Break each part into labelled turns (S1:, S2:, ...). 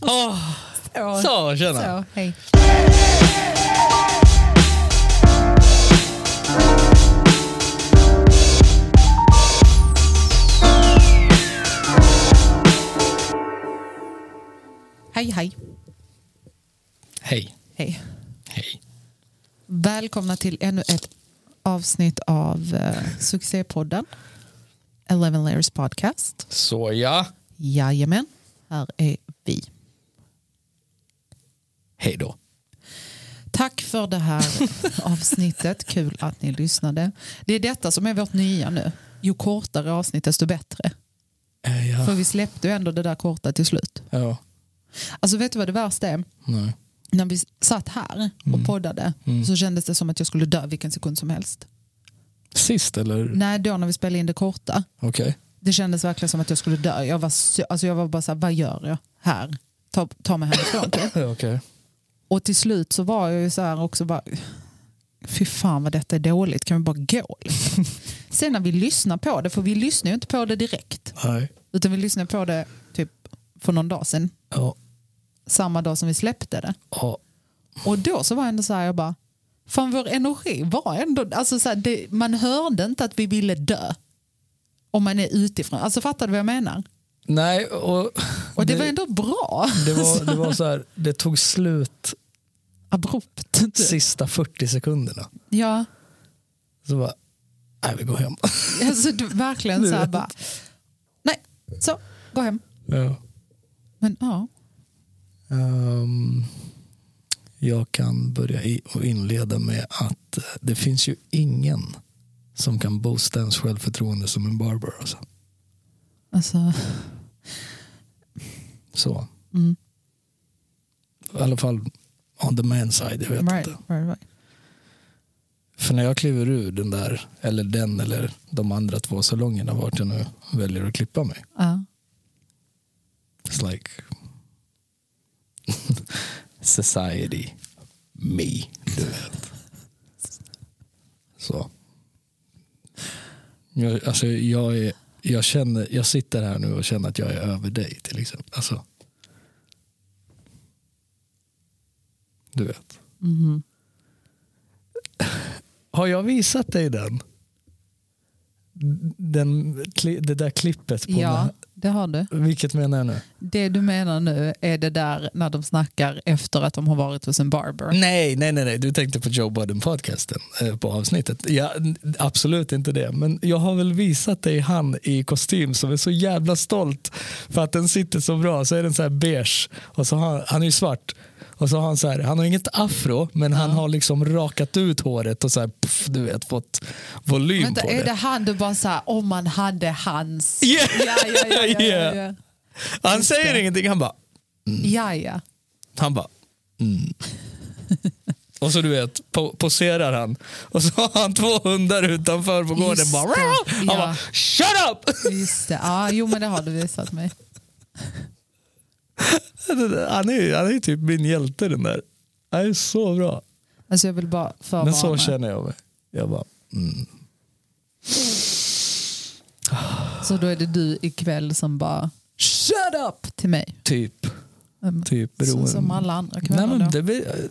S1: Åh, så, tjena.
S2: Så, hej. Hej, hej.
S1: Hej.
S2: Hej.
S1: Hej.
S2: Välkomna till ännu ett avsnitt av eh, succépodden Eleven Layers Podcast.
S1: Så ja.
S2: Jajamän, här är vi.
S1: Hej då.
S2: Tack för det här avsnittet. Kul att ni lyssnade. Det är detta som är vårt nya nu. Ju kortare avsnitt desto bättre.
S1: Eh, Ja.
S2: För vi släppte ju ändå det där korta till slut.
S1: ja.
S2: Alltså vet du vad det värsta är?
S1: Nej.
S2: När vi satt här och poddade så kändes det som att jag skulle dö vilken sekund som helst.
S1: Sist eller?
S2: Nej, då när vi spelade in det korta.
S1: Okej.
S2: Det kändes verkligen som att jag skulle dö. Jag var, så, alltså jag var bara så här, vad gör jag här? Ta, ta mig härifrån typ.
S1: Okej.
S2: Och till slut så var jag ju så här också bara, fy fan vad detta är dåligt, kan vi bara gå? liksom? Sen när vi lyssnar på det, för vi lyssnar ju inte på det direkt,
S1: Nej.
S2: utan vi lyssnar på det typ för någon dag sedan,
S1: Ja.
S2: samma dag som vi släppte det.
S1: Ja.
S2: Och då så var jag ändå så här, jag bara, fan vår energi var ändå, alltså så här, det, man hörde inte att vi ville dö. Om man är utifrån, alltså fattar du vad jag menar?
S1: Nej, och,
S2: Och det, var ändå bra,
S1: det var, det var så här, det tog slut
S2: abrupt. typ.
S1: sista 40 sekunderna.
S2: Ja.
S1: Så bara, nej vi går hem.
S2: Alltså, du, verkligen så här bara, nej, så, gå hem.
S1: Ja.
S2: Men ja,
S1: Ehm, jag kan börja i och inleda med att eh, det finns ju ingen som kan boosta ens självförtroende som en barber. Alltså.
S2: alltså,
S1: Så.
S2: Mm.
S1: I alla fall on the man side. Jag vet
S2: right,
S1: inte.
S2: right, right.
S1: För när jag kliver ur den där, eller den eller de andra två salongerna vart jag nu väljer att klippa mig.
S2: Ja.
S1: It's like society, me, du vet. Så. Jag, alltså, jag, är, jag, känner, jag sitter här nu och känner att jag är över dig till exempel. Alltså. Du vet.
S2: Mhm.
S1: Har jag visat dig den? den kli- det där klippet på
S2: ja, det har du.
S1: den- Vilket menar jag nu?
S2: Det du menar nu är det där när de snackar efter att de har varit hos en barber.
S1: Nej, nej, nej, nej. du tänkte på Joe Budden-podcasten eh, på avsnittet. Ja, n- absolut inte det, men jag har väl visat dig han i kostym som är så jävla stolt för att den sitter så bra. Så är den så här beige och så har han, han är ju svart. Och så har han så här, han har inget afro men han har liksom rakat ut håret och så här, pff, du vet, fått volym
S2: Vänta,
S1: på
S2: är det
S1: det.
S2: han du bara så här, om man hade hans...
S1: Yeah.
S2: Ja, ja, ja, ja, ja, ja.
S1: Han säger ingenting, han bara, Mm.
S2: ja, ja.
S1: Han bara, mm. Och så du vet, po- poserar han. Och så har han två hundar utanför på gården.
S2: Just
S1: Bara,
S2: det,
S1: "Wow!" han
S2: ja.
S1: bara, shut up!
S2: Just det. Ja, jo, men det har du visat mig.
S1: Han är, han är typ min hjälte den där. Han är så bra.
S2: Alltså jag vill bara förvarna.
S1: Men så känner jag mig. Jag bara, mm.
S2: Så då är det du ikväll som bara
S1: shut up!
S2: till mig.
S1: Typ,
S2: Mm,
S1: typ
S2: Så,
S1: beroende.
S2: som alla andra
S1: Nej,
S2: kvällar
S1: men
S2: då.
S1: det, be-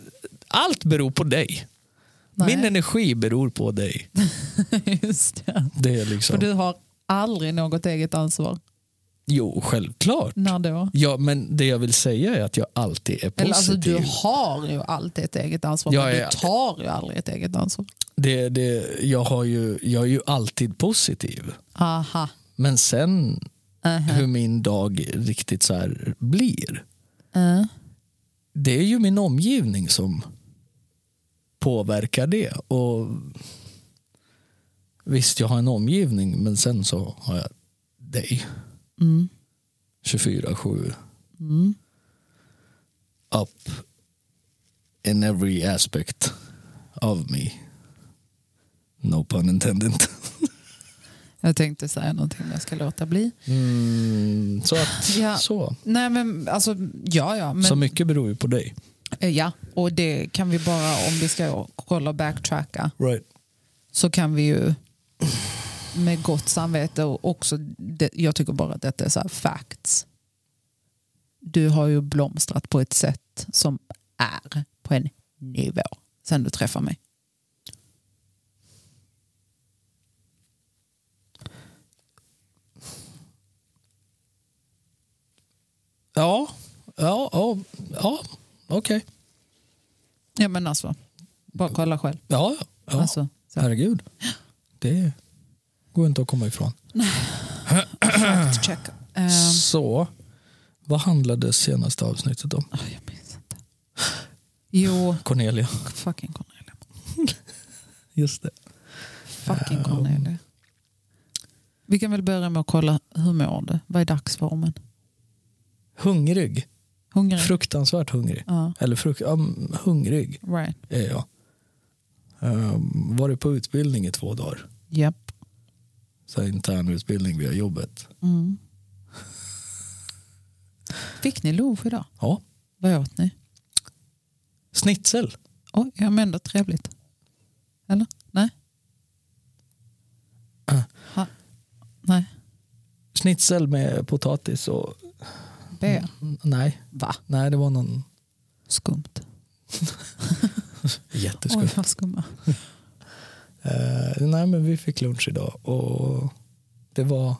S1: allt beror på dig.
S2: Nej.
S1: Min energi beror på dig.
S2: Just det.
S1: Det är
S2: För
S1: liksom,
S2: du har aldrig något eget ansvar.
S1: Jo, självklart.
S2: När då?
S1: Ja, men det jag vill säga är att jag alltid är positiv.
S2: Eller alltså du har ju alltid ett eget ansvar
S1: Ja,
S2: men
S1: ja.
S2: du tar ju aldrig ett eget ansvar.
S1: det, det, jag, har ju, jag är ju alltid positiv.
S2: Aha.
S1: Men sen
S2: Uh-huh.
S1: hur min dag riktigt så här blir. Det är ju min omgivning som påverkar det. Och Visst, jag har en omgivning, men sen så har jag dig. 24-7. Up in every aspect of me. No pun intended.
S2: Jag tänkte säga någonting men jag ska låta bli.
S1: Mm, så att,
S2: Ja.
S1: så.
S2: Nej men alltså ja ja. Men,
S1: så mycket beror ju på dig.
S2: eh, ja och det kan vi bara om vi ska kolla och backtracka
S1: Right.
S2: så kan vi ju med gott samvete och också det, jag tycker bara att detta är så här facts. du har ju blomstrat på ett sätt som är på en nivå sen du träffar mig.
S1: Ja, ja, ja, ja okej.
S2: Ja men alltså, bara kolla själv.
S1: Ja, ja, ja.
S2: Alltså, så.
S1: herregud. Det går inte att komma ifrån.
S2: Fact check. Ehm,
S1: Så, vad handlade senaste avsnittet om?
S2: åh, jag minns inte. Jo,
S1: Cornelia.
S2: fucking Cornelia.
S1: Just det.
S2: Fucking Cornelia. Vi kan väl börja med att kolla hur mår du? Vad är dagsformen?
S1: Hungrig.
S2: Hungrig?
S1: Fruktansvärt hungrig.
S2: ja,
S1: Eller frukt, ja, mm, hungrig
S2: right.
S1: är jag. Ehm, varit på utbildning i två dagar.
S2: Japp.
S1: Så här intern utbildning via jobbet.
S2: Mm. Fick ni lov idag?
S1: Ja.
S2: Vad åt ni?
S1: Snitsel.
S2: Oj, ja men ändå trevligt.
S1: Mm.
S2: Eller? Nej?
S1: Äh.
S2: Ha. Nej,
S1: Snitsel med potatis och...
S2: B.
S1: Mm, Nej,
S2: Va?
S1: nej det var någon
S2: Skumt.
S1: jätteskum.
S2: Oj, vad skumma.
S1: Eh, nej, men vi fick lunch idag och det var,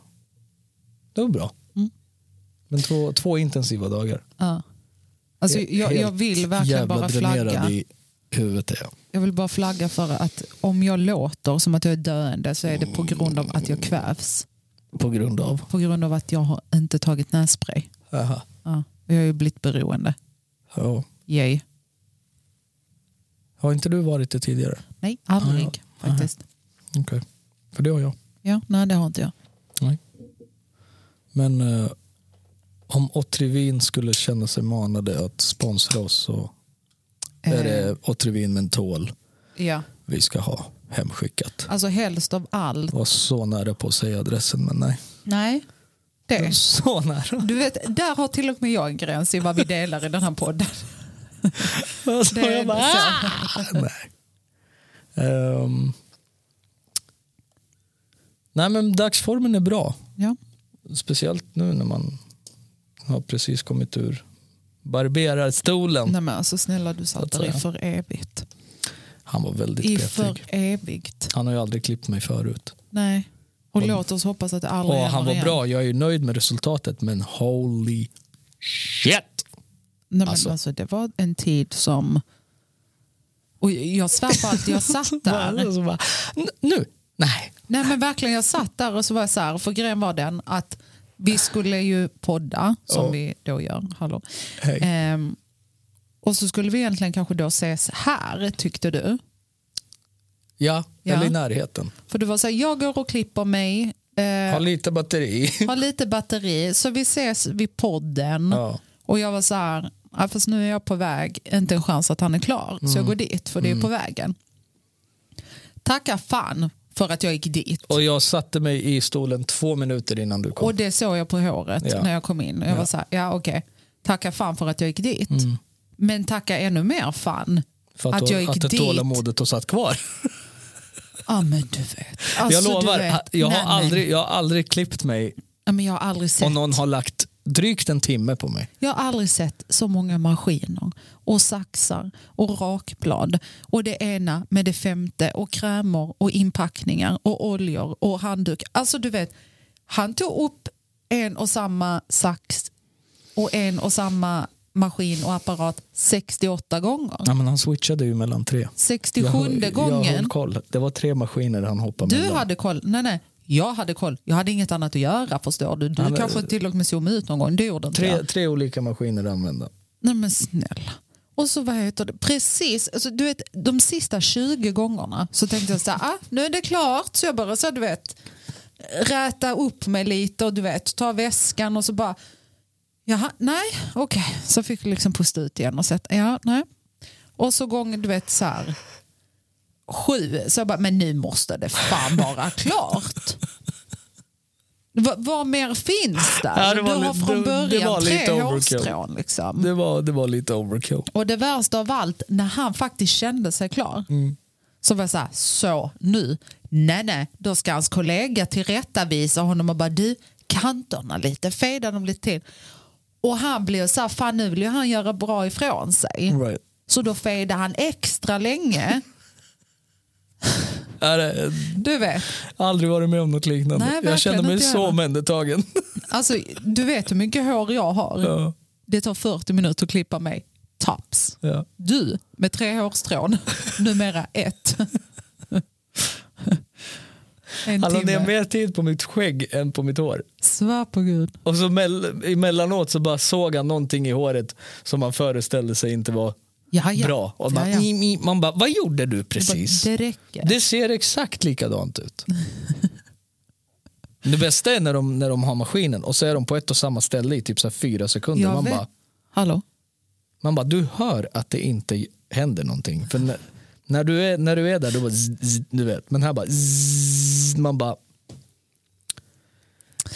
S1: det var bra.
S2: Mm.
S1: Men två, två intensiva dagar.
S2: Ja. Alltså, jag, jag vill verkligen
S1: Jävla
S2: bara
S1: dränerad
S2: flagga.
S1: i huvudet är jag.
S2: Jag vill bara flagga för att om jag låter som att jag är döende så är det på grund av att jag kvävs.
S1: På grund av.
S2: På grund av att jag har inte tagit nässpray.
S1: Aha.
S2: Ja. Och Jag har ju blivit beroende.
S1: Ja.
S2: Yay.
S1: Har inte du varit det tidigare?
S2: Nej, aldrig
S1: Ja,
S2: faktiskt.
S1: Okej. För det har jag.
S2: Ja, nej, det har inte jag.
S1: Men eh, om Otrivin skulle känna sig manade att sponsra oss så är det Otrivin Mentol
S2: Eh, ja.
S1: vi ska ha hemskickat.
S2: Alltså helst av allt.
S1: Var så nära på att säga adressen men nej.
S2: Nej, det.
S1: Så nära.
S2: Du vet, där har till och med jag en gräns i vad vi delar i den här podden.
S1: Alltså,
S2: Det är
S1: jag bara,
S2: så.
S1: "Ah!" nej. Ehm. nej men dagsformen är bra.
S2: Ja.
S1: Speciellt nu när man har precis kommit ur barberarstolen.
S2: Nej, men alltså, snälla du saltar i
S1: säga.
S2: för evigt.
S1: Han var väldigt
S2: I
S1: petig.
S2: för evigt.
S1: Han har ju aldrig klippt mig förut.
S2: Nej. Och
S1: Och-
S2: låt oss hoppas att det aldrig
S1: Och han
S2: händer
S1: var
S2: igen.
S1: bra, jag är ju nöjd med resultatet men holy shit!
S2: Nej, men alltså.
S1: Alltså.
S2: det var en tid som... Och jag svär på att jag satt där.
S1: Så bara, "N- nu, nej.
S2: Nej men verkligen, jag satt där och så var jag så här, för grejen var den att vi skulle ju podda, som
S1: Ja.
S2: vi då gör, hallå.
S1: Hej.
S2: Ehm, och så skulle vi egentligen kanske då ses här, tyckte du.
S1: Ja,
S2: Ja.
S1: eller i närheten.
S2: För du var så här, jag går och klipper mig,
S1: Ha
S2: eh,
S1: lite batteri.
S2: har lite batteri, så vi ses vid podden.
S1: Ja.
S2: Och jag var så här, ja, fast nu är jag på väg, inte en chans att han är klar. Så jag
S1: Mm.
S2: går dit för det är på vägen. Tacka fan för att jag gick dit. Och,
S1: Och jag satte mig i stolen två minuter innan du kom.
S2: det såg jag på håret
S1: Ja.
S2: när jag kom in. Och jag
S1: Ja. Mm.
S2: var så här, ja okej, tacka fan för att jag gick dit. Men tacka ännu mer fan.
S1: för
S2: att
S1: då-
S2: jag gick
S1: att det
S2: dit.
S1: tålamodet och satt kvar.
S2: Ja men du vet. Alltså,
S1: jag lovar,
S2: du vet.
S1: jag,
S2: Nej,
S1: har
S2: men-
S1: aldrig, jag har aldrig klippt mig
S2: Ja, men jag har aldrig sett.
S1: och någon har lagt drygt en timme på mig.
S2: Jag har aldrig sett så många maskiner och saxar och rakblad och det ena med det femte och krämer och inpackningar och oljor och handduk. Alltså du vet, han tog upp en och samma sax och en och samma maskin och apparat 68 gånger.
S1: Ja, men han switchade ju mellan tre. Jag,
S2: 67
S1: jag höll
S2: gången.
S1: koll. Det var tre maskiner han hoppade
S2: Du
S1: mellan.
S2: hade koll. Nej, nej. Jag hade koll. Jag hade inget annat att göra förstår du. Du
S1: Ja, men-
S2: kanske till och med zoomade ut någon gång. Det gjorde inte jag.
S1: Tre, tre olika maskiner använda.
S2: Nej men snälla. Och så vad heter det? Precis, alltså, du vet de sista 20 gångerna så tänkte jag så här, ah, nu är det klart. Så jag bara så du vet, räta upp mig lite och du vet, ta väskan och så bara, jaha, nej, okej. Så fick jag liksom pusta ut igen och sett, ja, nej. Och så gång, du vet så här, sju, så jag bara, men nu måste det fan vara klart. Va, vad mer finns där?
S1: Ja, det var
S2: du har
S1: lite-
S2: från
S1: det-
S2: början
S1: det var
S2: tre
S1: lite overkill.
S2: hårstrån liksom.
S1: Det var, det var lite overkill.
S2: Och det värsta av allt, när han faktiskt kände sig klar, så var jag så här, så nu, nej nej, då ska hans kollega tillrättavisa honom och bara du, kanterna lite, fejda dem lite till. Och han blev så här, fan nu vill ju han göra bra ifrån sig.
S1: Right.
S2: Så då fejdade han extra länge.
S1: Är det,
S2: Du vet,
S1: aldrig varit med om något liknande. jag
S2: Nej, verkligen
S1: känner mig
S2: inte jag
S1: så
S2: heller.
S1: omhändertagen.
S2: alltså, du vet hur mycket hår jag har.
S1: ja,
S2: Det tar 40 minuter att klippa mig. Taps.
S1: ja.
S2: Du med tre hårstrån, numera ett. en
S1: Han la ner
S2: timme.
S1: mer tid på mitt skägg än på mitt hår.
S2: Svär på gud.
S1: Och så mell- emellanåt så bara såg han någonting i håret som man föreställde sig inte var
S2: Ja, ja.
S1: bra. Och
S2: ja,
S1: man,
S2: ja.
S1: i- i- man bara, vad gjorde du
S2: Det bara,
S1: precis?
S2: Det räcker.
S1: Det ser exakt likadant ut. Det bästa är när de, när de har maskinen och så är de på ett och samma ställe i typ så här fyra sekunder.
S2: Jag
S1: Man
S2: vet.
S1: bara,
S2: Hallå?
S1: man bara, du hör att det inte händer någonting. För när, när, du, är, när du är där, då bara, zzz, zzz, du vet. Men här bara, zzz, man bara,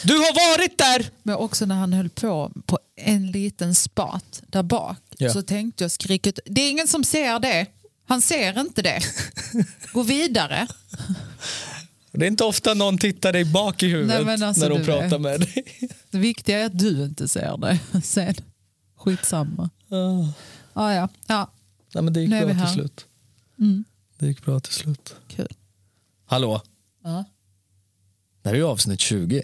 S1: du har varit där!
S2: Men också när han höll på på en liten spat där bak
S1: Ja.
S2: så tänkte jag skriket. Det är ingen som ser det. Han ser inte det. Gå vidare.
S1: Det är inte ofta någon tittar dig bak i huvudet
S2: Nej, men alltså,
S1: när de
S2: du
S1: pratar
S2: vet.
S1: med dig.
S2: Det viktiga är att du inte ser det. Sen, skitsamma.
S1: Ah.
S2: Ah, ja, ja.
S1: Nej, men det gick
S2: Nu är
S1: bra
S2: vi
S1: till
S2: här.
S1: slut.
S2: Mm.
S1: Det gick bra till slut.
S2: Kul.
S1: Hallå,
S2: Ja.
S1: det här är ju avsnitt 20.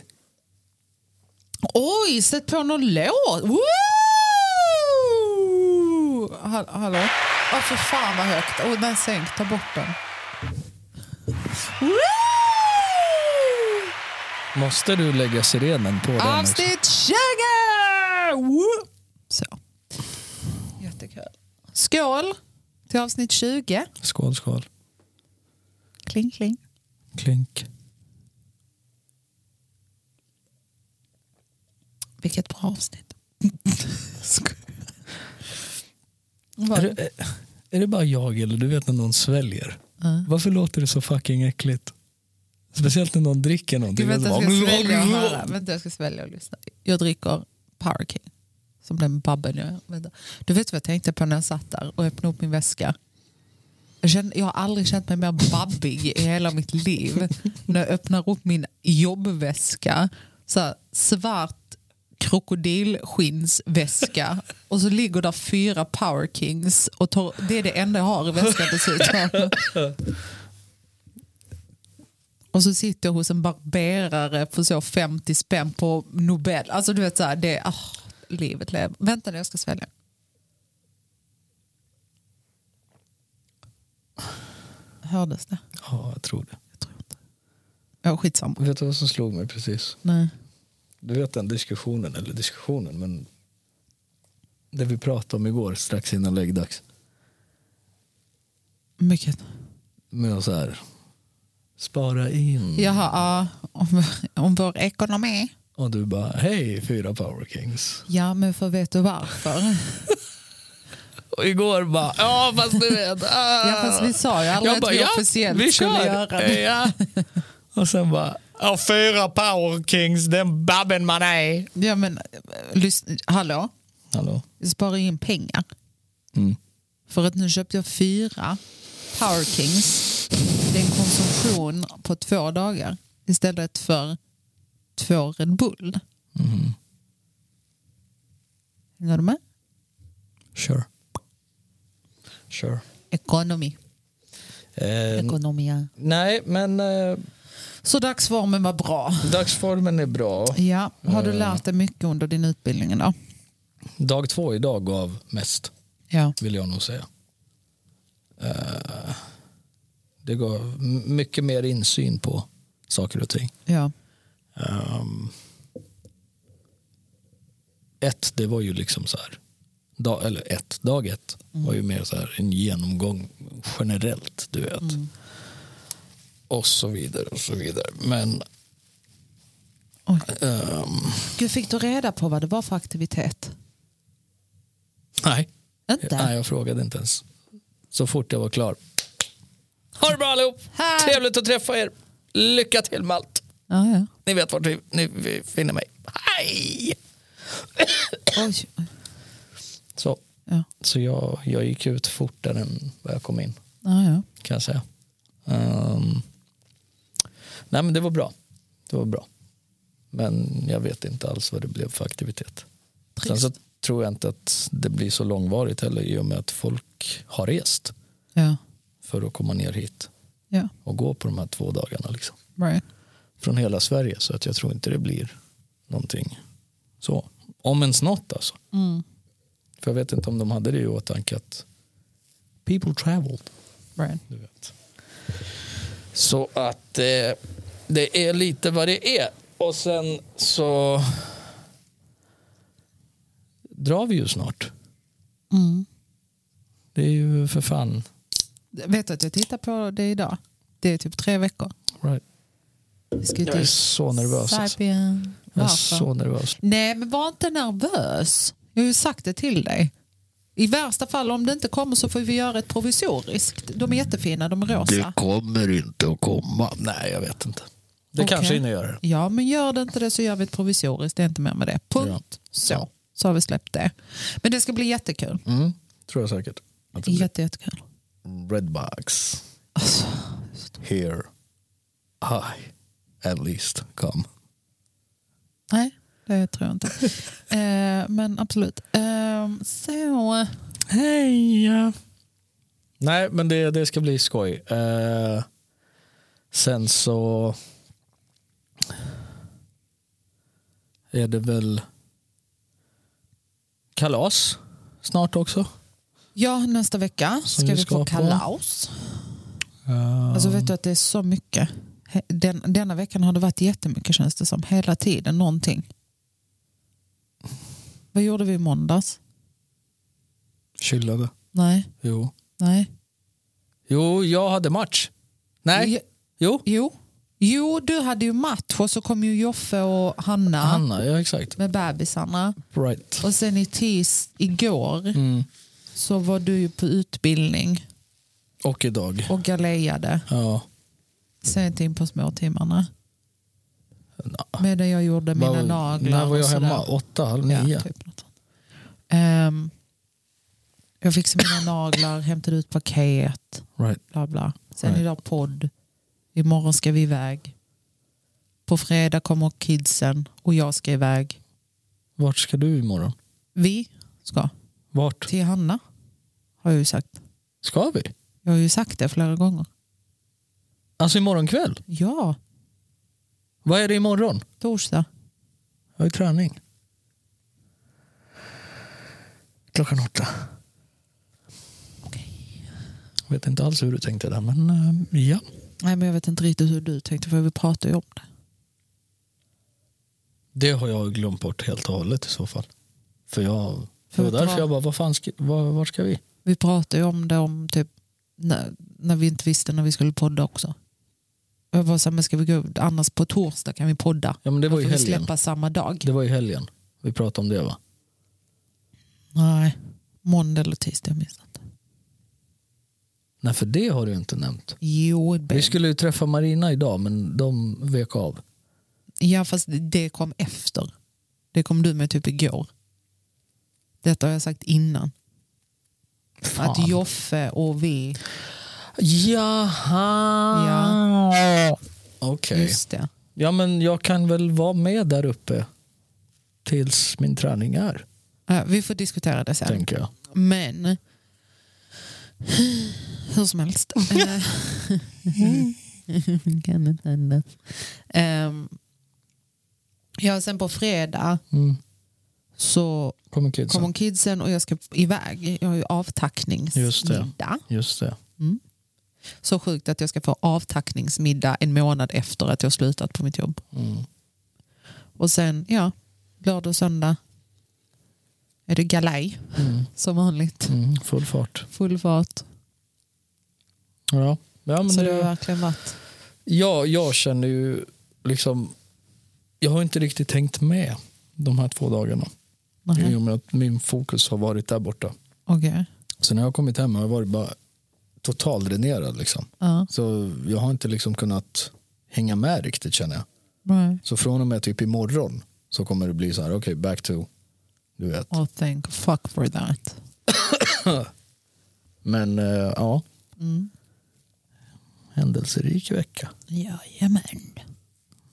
S2: Oj, sätt på någon låt. Woo! Hall- Hallå? Åh, för fan vad högt. Åh, nej, sänk. Ta bort den. Woo!
S1: Måste du lägga sirenen på den? också?
S2: Avsnitt 20! Woo! Så. Jättekul. Skål till avsnitt 20.
S1: Skål, skål.
S2: Kling, kling.
S1: Klink.
S2: Vilket bra avsnitt.
S1: Är det, eh, är det bara jag eller du vet när någon sväljer? Varför låter det så fucking äckligt? Speciellt när någon dricker någonting.
S2: Gud, vänta, jag ska
S1: Alltså,
S2: svälja och höra. Vänta, jag ska svälja och lyssna. Jag dricker Power King. Som den babben jag är. Vänta. Du vet vad jag tänkte på när jag satt där och öppnade upp min väska? Jag, kände, jag har aldrig känt mig mer babbig i hela mitt liv. när jag öppnar upp min jobbväska. Så här, svart krokodilskinnsväska och så ligger där fyra Power Kings och tar, det är det enda jag har i väskan dessutom. Och så sitter jag hos en barberare för så 50 spänn på Nobel. Alltså du vet så här, det är ah, livet lever. Vänta nu, jag ska svälja. Hördes det?
S1: Ja, jag tror det.
S2: Jag tror inte. Ja, skitsamma.
S1: Vet du vad som slog mig precis?
S2: Nej.
S1: Du vet den diskussionen, eller diskussionen, men det vi pratade om igår strax innan läggdags.
S2: Mycket.
S1: Med så här, spara in.
S2: Jaha, ja, om, om vår ekonomi.
S1: Och du bara, hej fyra power kings.
S2: Ja, men för vet du varför?
S1: Och igår bara, ja fast du vet. ah."
S2: Ja, fast vi sa ju aldrig att vi officiellt skulle göra det.
S1: Ja. Och sen bara, ja fyra power kings, den babben man är.
S2: Ja, men eh, lys- hallå?
S1: Hallå?
S2: Vi sparar in pengar.
S1: Mm.
S2: För att nu köpte jag fyra Power Kings. Det är en konsumtion på två dagar istället för två Red Bull.
S1: Mm.
S2: Hänger du med?
S1: Sure. Sure.
S2: Ekonomi.
S1: Eh,
S2: Ekonomia.
S1: nej, men eh,
S2: Så dagsformen var bra.
S1: dagsformen är bra.
S2: Ja, har
S1: Eh.
S2: du lärt dig mycket under din utbildning då?
S1: Dag två idag gav mest,
S2: Ja.
S1: vill jag nog säga. Eh, det gav m- mycket mer insyn på saker och ting.
S2: ja.
S1: Ehm, ett, det var ju liksom så här. Dag, eller ett, dag ett var ju mer så här en genomgång generellt, du vet. Och så vidare och så vidare. Men
S2: Oj.
S1: ehm,
S2: Gud, fick du reda på vad det var för aktivitet?
S1: nej.
S2: Inte?
S1: Eh, nej, jag frågade inte ens. Så fort jag var klar. Ha det bra allihop!
S2: Hej!
S1: Trevligt att träffa er. Lycka till med allt.
S2: Ja, ja.
S1: Ni vet vart ni, ni finner mig. Hej!
S2: Oj.
S1: Så.
S2: Ja.
S1: Så jag, jag gick ut fortare än vad jag kom in
S2: Ja, ja.
S1: kan jag säga. Ehm, nej men det var bra. Det var bra. Men jag vet inte alls vad det blev för aktivitet. Sen
S2: Trist.
S1: så tror jag inte att det blir så långvarigt heller i och med att folk har rest
S2: Ja.
S1: för att komma ner hit
S2: ja,
S1: och gå på de här två dagarna. Liksom.
S2: right.
S1: Från hela Sverige så att jag tror inte det blir någonting så. Om ens något alltså.
S2: Mm.
S1: För jag vet inte om de hade det i åtanke att people traveled.
S2: right.
S1: Du vet. Så att eh, det är lite vad det är. Och sen så drar vi ju snart.
S2: Mm.
S1: Det är ju för fan.
S2: Vet du att jag tittar på det idag? Det är typ tre veckor.
S1: Right.
S2: Vi ska ju
S1: Jag är
S2: till
S1: så nervös. Alltså.
S2: Serbien.
S1: Jag är
S2: Varför?
S1: så nervös.
S2: Nej, men var inte nervös. Jag har ju sagt det till dig. I värsta fall, om det inte kommer så får vi göra ett provisoriskt. De är jättefina, de är rosa.
S1: kommer inte att komma. Nej, jag vet inte. Det
S2: Okej.
S1: kanske hinner göra det.
S2: Ja, men gör det inte det så gör vi ett provisoriskt. Det är inte mer med det. Punkt. Så. Så har vi släppt det. Men det ska bli jättekul.
S1: Mm, tror jag säkert. Att det blir.
S2: Jätte, jättekul.
S1: Redbox.
S2: Alltså,
S1: Here. I. At least come.
S2: nej, det tror jag inte. eh, men absolut. Eh, så.
S1: Hej! Nej, men det, det ska bli skoj. Eh, sen så är det väl kalas snart också.
S2: Ja, nästa vecka ska
S1: vi
S2: vi,
S1: ska
S2: få
S1: på.
S2: kalas. Alltså vet du att det är så mycket. He- Den, denna veckan har det varit jättemycket känns det som. Hela tiden någonting. Vad gjorde vi i måndags?
S1: Chillade.
S2: Nej,
S1: Jo.
S2: nej.
S1: jo, jag hade match. Nej, jo.
S2: Jo, Jo. jo, du hade ju match och så kom ju Joffe och Hanna
S1: Hanna, ja exakt.
S2: med bebisarna.
S1: Right.
S2: Och sen i tis igår
S1: Mm.
S2: så var du ju på utbildning
S1: Och idag.
S2: och galejade
S1: Ja.
S2: sent in på småtimmarna.
S1: Nå.
S2: Medan jag gjorde mina
S1: Var-
S2: naglar.
S1: När var jag
S2: och sådär.
S1: hemma? Åtta, halv
S2: Ja,
S1: nio?
S2: typ något sånt. Ehm, jag fixade mina naglar, hämtade ut paket,
S1: Right.
S2: bla bla. Sen
S1: Right.
S2: idag podd. Imorgon ska vi iväg. På fredag kommer kidsen och jag ska iväg.
S1: Vart ska du imorgon?
S2: Vi ska
S1: Vart?
S2: till Hanna. Har jag ju sagt.
S1: Ska vi?
S2: Jag har ju sagt det flera gånger.
S1: Alltså imorgon kväll?
S2: Ja,
S1: Vad är det imorgon?
S2: torsdag.
S1: Jag har ju träning. Klockan åtta. Jag vet inte alls hur du tänkte där, men eh, ja.
S2: Nej men jag vet inte riktigt hur du tänkte för vi pratade ju om det.
S1: Det har jag glömt bort helt och hållet i så fall. För jag... Det
S2: För
S1: var
S2: vad-
S1: därför jag bara, vad fan ska, var, var ska vi?
S2: Vi pratade ju om det om typ när, när vi inte visste när vi skulle podda också. Jag var så här, men ska vi gå annars på torsdag kan vi podda.
S1: Ja men det var
S2: Då
S1: ju
S2: får vi
S1: helgen.
S2: släppa samma dag.
S1: Det var ju helgen. Vi pratade om det va?
S2: Nej, måndag eller tisdag jag minns inte.
S1: Nej för det har du ju inte nämnt.
S2: Jo,
S1: Vi
S2: babe.
S1: skulle ju träffa Marina idag men de vek av.
S2: ja fast det kom efter. Det kom du med typ igår. Detta har jag sagt innan.
S1: Fan.
S2: Att Joffe och vi,
S1: Jaha! Ja. Okej.
S2: just det.
S1: Ja, men jag kan väl vara med där uppe tills min träning är,
S2: Ja, vi får diskutera det sen.
S1: tänker jag.
S2: Men hur som helst. Eh, kan inte andas. Ehm, ja, sen på fredag
S1: Mm.
S2: så
S1: Kommer kidsen.
S2: kommer kidsen och jag ska iväg. Jag har ju
S1: Just det.
S2: avtackningsmiddag.
S1: Just det.
S2: Så sjukt att jag ska få avtackningsmiddag en månad efter att jag slutat på mitt jobb.
S1: Mm.
S2: Och sen, ja, lördag och söndag är det galej
S1: Mm.
S2: som vanligt.
S1: Mm. Full fart.
S2: Full fart.
S1: Ja, ja men
S2: så det har
S1: det,
S2: verkligen varit
S1: ja, jag känner ju liksom... Jag har inte riktigt tänkt med de här två dagarna.
S2: Nähä,
S1: I och med att min fokus har varit där borta.
S2: Okej.
S1: Så när jag har kommit hem har jag varit bara totaldränerad. Liksom.
S2: Ja.
S1: Så jag har inte liksom kunnat hänga med riktigt känner jag.
S2: Right.
S1: Så från och med typ imorgon så kommer det bli så här, okej, back to, du vet.
S2: Oh, thank fuck for that.
S1: Men eh, ja,
S2: Mm.
S1: händelserik vecka.
S2: Jajamän.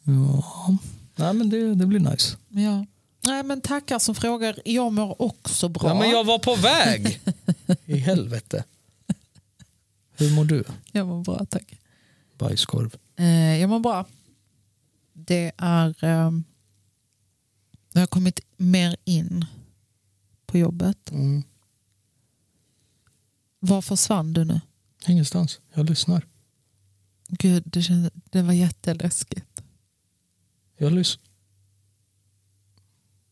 S1: Ja. Nej men det, det blir nice.
S2: Ja. Nej men tackar som frågar. Jag mår också bra.
S1: Ja, men jag var på väg. I helvete. Hur mår du?
S2: jag mår bra tack.
S1: Bajskorv.
S2: Eh, jag mår bra. Det är... Eh, jag har kommit mer in på jobbet.
S1: Mm.
S2: Var försvann du nu?
S1: Ingenstans. Jag lyssnar.
S2: Gud, det, kändes, det var jätteläskigt.
S1: Jag lys-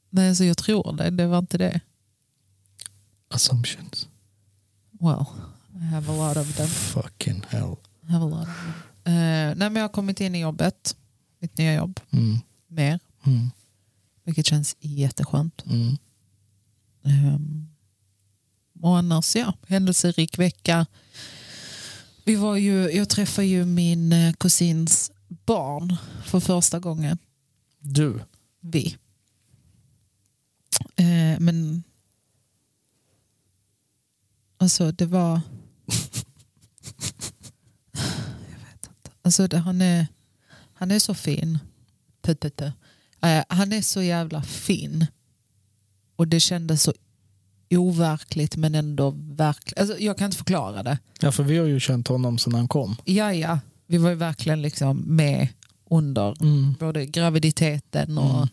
S2: Nej, alltså, jag tror det. Det var inte det.
S1: Assumptions.
S2: Well, I have a lot of them.
S1: Fucking hell.
S2: I have a lot of them. Eh, nej, men jag har kommit in i jobbet. Mitt nya jobb.
S1: Mm.
S2: Mer.
S1: Mm.
S2: Vilket känns jätteskönt.
S1: Mm.
S2: Um, och annars, ja, händelserik vecka. Vi var ju, jag träffade ju min eh, kusins barn för första gången.
S1: Du.
S2: Vi. Eh, men... Alltså, det var... jag vet inte. Alltså, det, han, är, han är så fin. Putt, putt, putt. Eh, han är så jävla fin. Och det kändes så overkligt men ändå verkligt. Alltså, jag kan inte förklara det.
S1: Ja, för vi har ju känt honom sedan han kom.
S2: Ja, ja. Vi var ju verkligen liksom med under både graviditeten och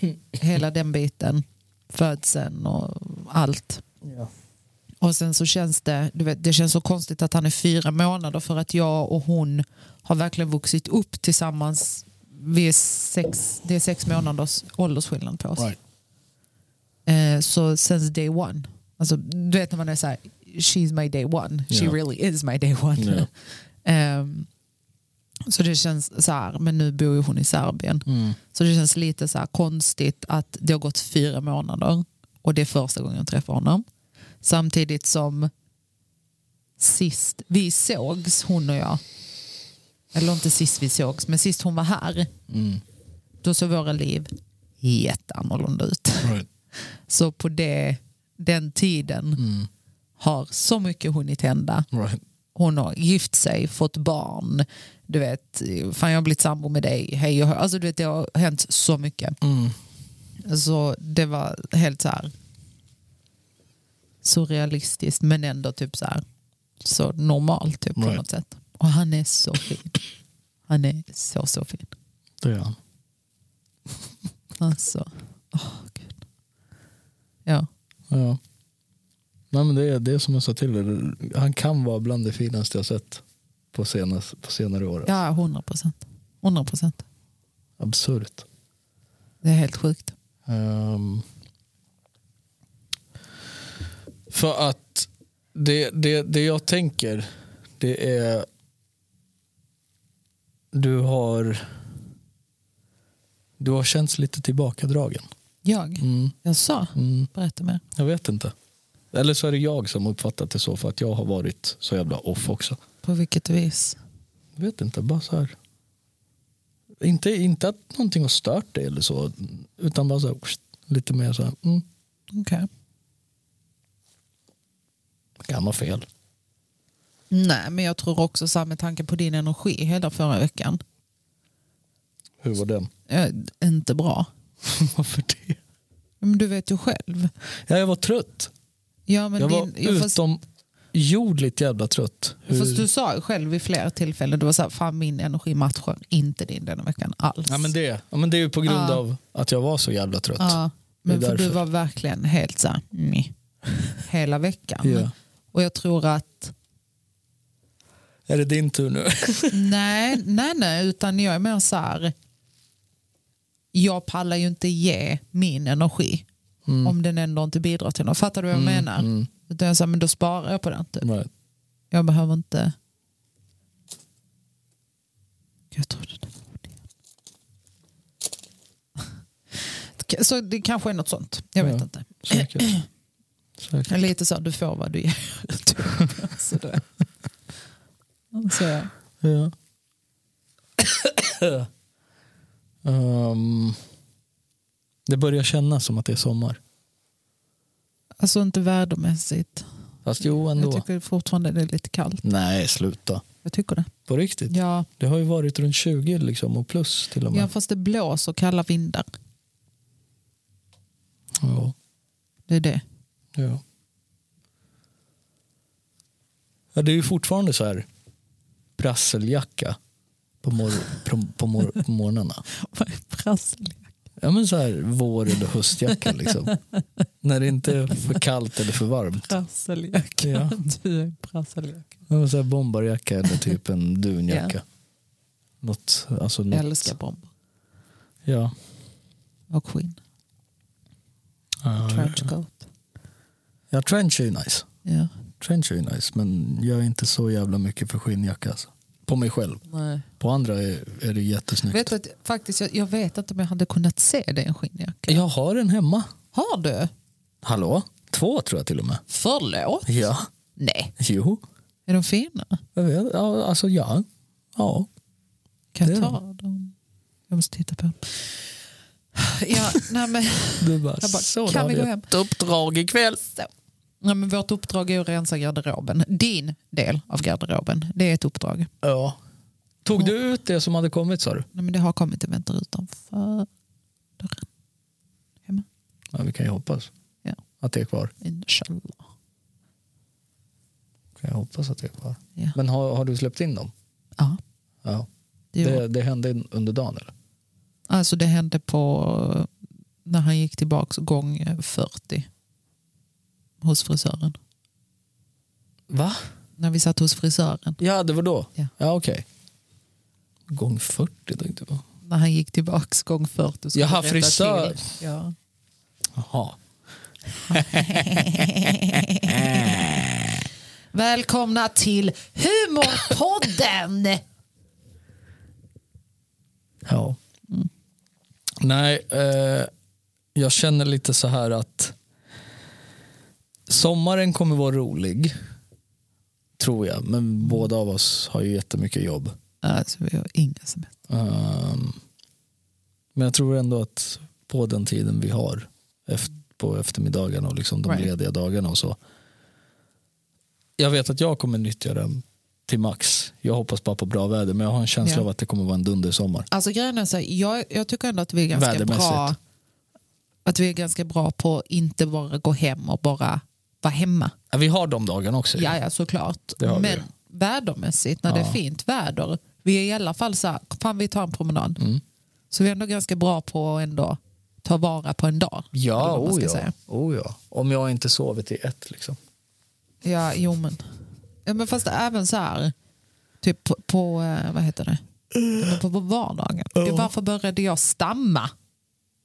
S1: Mm.
S2: hela den biten. Födseln och allt.
S1: Ja.
S2: Och sen så känns det, du vet, det känns så konstigt att han är fyra månader för att jag och hon har verkligen vuxit upp tillsammans. Vi är sex, det är sex månaders åldersskillnad på oss.
S1: Right.
S2: Eh, så since day one. Alltså, du vet när man är så här, she's my day one, she
S1: Ja.
S2: really is my day one.
S1: Ja.
S2: Ehm, så det känns så här, men nu bor ju hon i Serbien.
S1: Mm.
S2: Så det känns lite så här konstigt att det har gått fyra månader och det är första gången jag träffar honom. Samtidigt som sist vi sågs, hon och jag, eller inte sist vi sågs, men sist hon var här,
S1: Mm.
S2: då såg våra liv jätteannorlunda ut.
S1: Right.
S2: Så på det, den tiden
S1: Mm.
S2: har så mycket hunnit hända.
S1: Right.
S2: Hon har gift sig, fått barn, du vet, fan jag har blivit sambo med dig, hej och hö. Alltså du vet, det har hänt så mycket.
S1: Mm.
S2: Så det var helt så här surrealistiskt men ändå typ så här så normalt typ på
S1: Right.
S2: något sätt. Och han är så fin. Han är så så fin.
S1: Det är han.
S2: Alltså, åh gud. Ja,
S1: Ja. Nej, men det är det är som jag sa till dig. Han kan vara bland det finaste jag sett på, senas, på senare år.
S2: ja 100 procent. 100 procent.
S1: Absurt.
S2: Det är helt sjukt.
S1: Ehm, för att det, det, det jag tänker det är du har du har känts lite tillbakadragen.
S2: Jag?
S1: Mm,
S2: Jag sa?
S1: mm,
S2: Berätta mer.
S1: jag vet inte. Eller så är det jag som uppfattat det så för att jag har varit så jävla off också.
S2: På vilket vis?
S1: Jag vet inte, bara så här. Inte, inte att någonting har stört dig eller så, utan bara så här, lite mer så här, mm,
S2: Okej.
S1: kan ha fel.
S2: Nej, men jag tror också så här med tanke på din energi hela förra veckan.
S1: Hur var den?
S2: eh, Inte bra.
S1: Varför det?
S2: Men du vet ju själv.
S1: Ja, jag var trött.
S2: Ja, men
S1: jag var
S2: din, ja, fast,
S1: utomjordligt jävla trött.
S2: fast du sa ju själv vid flera tillfällen, du var så här, fan min energi matchar inte din denna veckan alls.
S1: Ja, men det, ja, men det är ju på grund
S2: Ja.
S1: av att jag var så jävla trött.
S2: Ja, men
S1: Det är
S2: för du
S1: därför.
S2: var verkligen helt så här, "Meh." hela veckan.
S1: Ja.
S2: Och jag tror att,
S1: Är det din tur nu?
S2: nej, nej, nej, utan jag är mer så här, jag pallar ju inte ge min energi om den ändå inte bidrar till något. Fattar du vad jag menar?
S1: mm.
S2: Utan jag sa, men då sparar jag på den typ.
S1: Right.
S2: Jag behöver inte... Jag trodde det var det. Så det kanske är något sånt. Jag vet
S1: Ja.
S2: inte.
S1: Säkert. Säkert.
S2: Lite så, du får vad du ger. så det. Så, ja.
S1: Ja. Ehm, det börjar kännas som att det är sommar.
S2: alltså inte värdemässigt.
S1: Fast jo,
S2: Jag
S1: ändå.
S2: tycker fortfarande det är lite kallt.
S1: Nej, sluta.
S2: Jag tycker det.
S1: På riktigt.
S2: Ja,
S1: Det har ju varit runt 20 liksom, och plus till och med.
S2: ja fast det blåser kalla vindar. Det är det.
S1: Ja. ja, det är ju fortfarande så här prasseljacka på, mor på, på, mor på morgnarna.
S2: Vad är prasslig?
S1: Ja, men så här vår eller höstjacka liksom. När det inte är för kallt eller för varmt.
S2: Prasseljacka.
S1: Ja.
S2: Du är prasseljacka.
S1: Ja, men så här bombarjacka eller typ en dunjacka.
S2: Ja.
S1: Något, alltså något.
S2: Jag älskar bomber
S1: Ja.
S2: och skinn.
S1: Ja,
S2: Trenchcoat.
S1: ja, trench är ju nice.
S2: Ja.
S1: Trench är ju nice, men jag är inte så jävla mycket för skinnjacka. Alltså. På mig själv.
S2: Nej.
S1: På andra är, är det jättesnyggt.
S2: Vet du, att, faktiskt, jag, jag vet inte om jag hade kunnat se dig i en skinnjacka.
S1: Jag har en hemma.
S2: Har du?
S1: Hallå? Två tror jag till och med.
S2: Förlåt?
S1: Ja.
S2: Nej.
S1: Jo.
S2: Är de fina?
S1: Jag vet. Ja, alltså ja. Ja.
S2: Kan
S1: Det
S2: jag
S1: är
S2: ta dem? Jag måste titta på dem. Ja, nej men,
S1: Du bara,
S2: Jag bara,
S1: så
S2: kan
S1: då
S2: vi
S1: har
S2: gå
S1: jag
S2: hem?
S1: ett uppdrag ikväll.
S2: nej men vårt uppdrag är att rensa garderoben. Din del av garderoben. Det är ett uppdrag.
S1: Ja. Tog du ut det som hade kommit sa du?
S2: Nej, men det har kommit en väntar utanför dörren. Hemma.
S1: Ja, vi kan ju hoppas
S2: Ja.
S1: att det är kvar.
S2: Inshallah.
S1: Kan jag hoppas att det är kvar.
S2: Ja.
S1: Men har, har du släppt in dem?
S2: Ja,
S1: Ja.
S2: det gjorde-
S1: Det, det hände under dagen eller?
S2: Alltså det hände på när han gick tillbaks gång 40 hos frisören.
S1: Va?
S2: När vi satt hos frisören.
S1: Ja, det var då?
S2: Ja.
S1: ja okej. Gång 40 tänkte jag.
S2: När han gick tillbaks gång 40. skulle
S1: Jaha,
S2: rätta
S1: frisör.
S2: till. Ja.
S1: Jaha.
S2: Välkomna till Humorpodden!
S1: Ja.
S2: Mm.
S1: Nej, eh, jag känner lite så här att sommaren kommer vara rolig. Tror jag, men båda av oss har ju jättemycket jobb.
S2: alltså, vi har inga semester.
S1: Ehm, men jag tror ändå att på den tiden vi har eft- på eftermiddagarna och liksom de
S2: Right.
S1: lediga dagarna och så. Jag vet att jag kommer nyttja den till max. Jag hoppas bara på bra väder men jag har en känsla
S2: Ja.
S1: av att det kommer vara en dundersommar.
S2: Alltså, grejen är så här, jag, jag tycker ändå att vi är ganska
S1: Vädermässigt.
S2: bra att vi är ganska bra på att inte bara gå hem och bara vara hemma.
S1: Ja, Vi har de dagarna också. ju.
S2: Ja, ja såklart.
S1: Det har vi
S2: Men vädermässigt, när det
S1: Ja.
S2: är fint väder, vi är i alla fall så här, fan vi tar en promenad.
S1: Mm.
S2: Så vi är ändå ganska bra på att ändå ta vara på en dag. eller
S1: Ja,
S2: vad man
S1: oh
S2: ska
S1: ja.
S2: säga.
S1: oh ja. Om jag inte sovit i ett. Liksom.
S2: Ja, jo men. Ja, men fast även så här, typ på, på eh, vad heter det? Ja, men På, på vardagen. Gud, varför började jag stamma?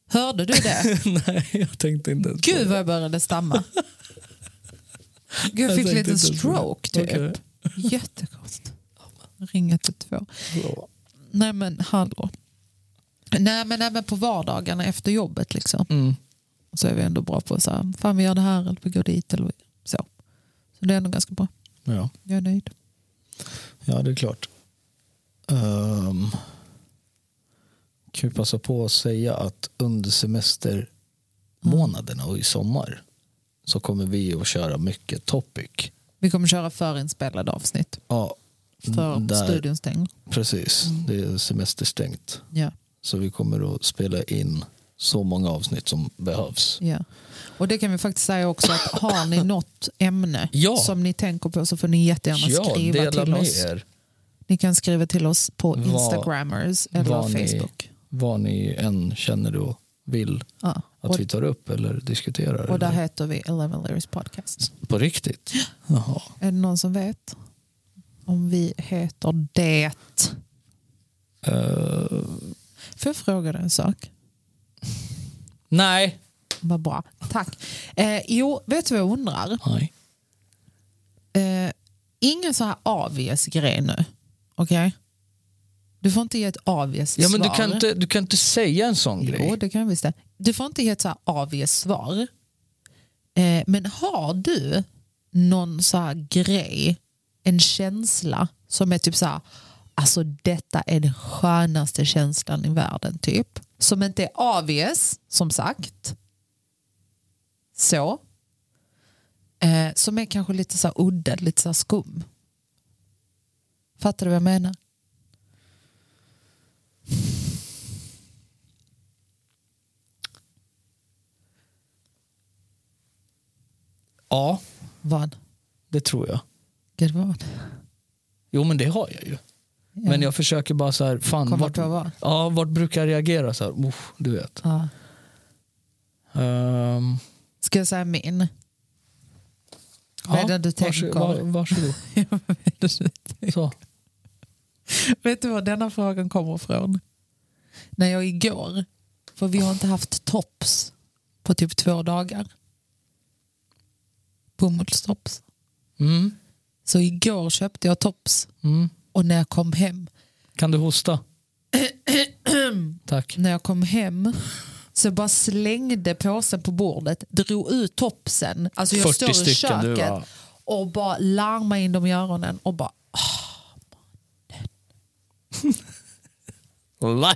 S2: Hörde du det?
S1: Nej, jag tänkte inte ens på
S2: Gud vad jag började stamma. Gud, jag fick
S1: tänkte
S2: en liten
S1: inte ens på det.
S2: stroke typ.
S1: Okej.
S2: Jättekonstigt. Ringa till två.
S1: det.
S2: Nej men hallå. Nej men även på vardagarna efter jobbet liksom.
S1: Mm.
S2: Så är vi ändå bra på så här, fan vi gör det här eller vi går dit eller så. Så det är ändå ganska bra.
S1: Ja.
S2: Jag är nöjd.
S1: ja, det är klart. Um, kan ju passa på att säga att under semestermånaderna och i sommar så kommer vi att köra mycket topic.
S2: Vi kommer köra förinspelade avsnitt
S1: Ja,
S2: för
S1: Mm, där,
S2: studion stänger.
S1: Precis, det är semesterstängt.
S2: Ja,
S1: Så vi kommer att spela in så många avsnitt som behövs.
S2: ja. Och det kan vi faktiskt säga också att har ni något ämne
S1: Ja.
S2: som ni tänker på så får ni jättegärna
S1: Ja,
S2: skriva
S1: dela
S2: till
S1: med
S2: oss.
S1: er.
S2: Ni kan skriva till oss på
S1: Vad-
S2: Instagrammers eller
S1: vad ni-
S2: Facebook.
S1: vad ni än känner och vill
S2: Ja.
S1: att
S2: Och,
S1: vi tar upp eller diskuterar.
S2: och där
S1: eller-
S2: heter vi Eleven Lyrics Podcast.
S1: På riktigt? Jaha.
S2: Är det någon som vet om vi heter det?
S1: Eh,
S2: Får jag fråga dig en sak?
S1: nej.
S2: Vad bra. Tack. Eh, jo, vet du vad jag undrar?
S1: nej.
S2: Eh, ingen så här obvious grej nu. Okej? Du får inte ge ett obvious
S1: Ja, men
S2: svar.
S1: du, kan inte, du kan inte säga en sån
S2: Jo,
S1: grej.
S2: det kan jag visst det. Du får inte ge ett så här obvious svar. Eh, men har du någon så här grej, en känsla som är typ så här, alltså detta är den skönaste känslan i världen typ. Som inte är obvious, som sagt. Så. Eh, som är kanske lite så här udda, lite så här skum. Fattar du vad jag menar?
S1: Ja,
S2: Vad?
S1: det tror jag.
S2: Gud vad?
S1: Jo men det har jag ju.
S2: Ja.
S1: Men jag försöker bara så här, fan
S2: Kommer
S1: vart,
S2: på vad?
S1: ja, vart brukar jag reagera så här? Uff, du vet.
S2: Ja.
S1: Ehm,
S2: Ska jag säga min? Vad är det du tänker?
S1: Vars, var, varsågod. Så.
S2: Vet du var denna frågan kommer ifrån? När jag igår, för vi har inte haft tops på typ två dagar. Bomullstops.
S1: Mm,
S2: Så igår köpte jag tops
S1: mm.
S2: och när jag kom hem,
S1: Kan du hosta? Tack.
S2: när jag kom hem så jag bara slängde påsen på bordet, drog ut topsen. Alltså jag
S1: 40
S2: står i
S1: stycken, du
S2: köket
S1: bara-
S2: och bara larmade in dem i öronen och bara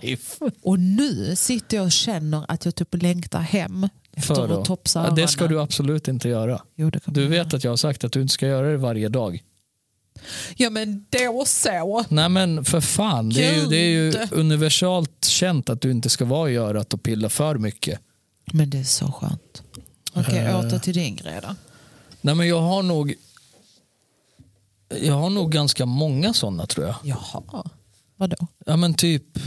S1: Life!
S2: Och nu sitter jag och känner att jag typ längtar hem efter att topsa
S1: ja, det ska
S2: öronen.
S1: du absolut inte göra.
S2: Jo, det kan
S1: Du
S2: man
S1: vet
S2: göra.
S1: att jag har sagt att du inte ska göra det varje dag.
S2: Ja men då så.
S1: Nej men för fan, det är ju, det är ju universalt känt att du inte ska vara i örat och pilla för mycket.
S2: Men det är så skönt. Okej,
S1: Eh.
S2: åter till din grej då.
S1: Nej men jag har nog jag har nog ganska många sådana tror jag.
S2: Jaha. Vadå?
S1: Ja men typ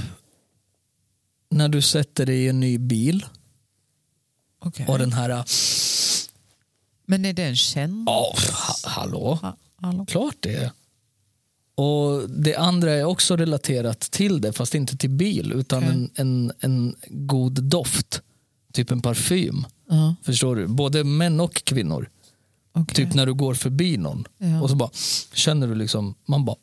S1: när du sätter dig i en ny bil
S2: Okej.
S1: och den här,
S2: Men är det en känsla?
S1: ja ha, hallå,
S2: Hallå?
S1: klart det är. Och det andra är också relaterat till det fast inte till bil utan
S2: Okej.
S1: en, en, en god doft, typ en parfym.
S2: Ja,
S1: Förstår du? Både män och kvinnor.
S2: okej.
S1: Typ när du går förbi någon
S2: Ja.
S1: och så bara känner du liksom, man bara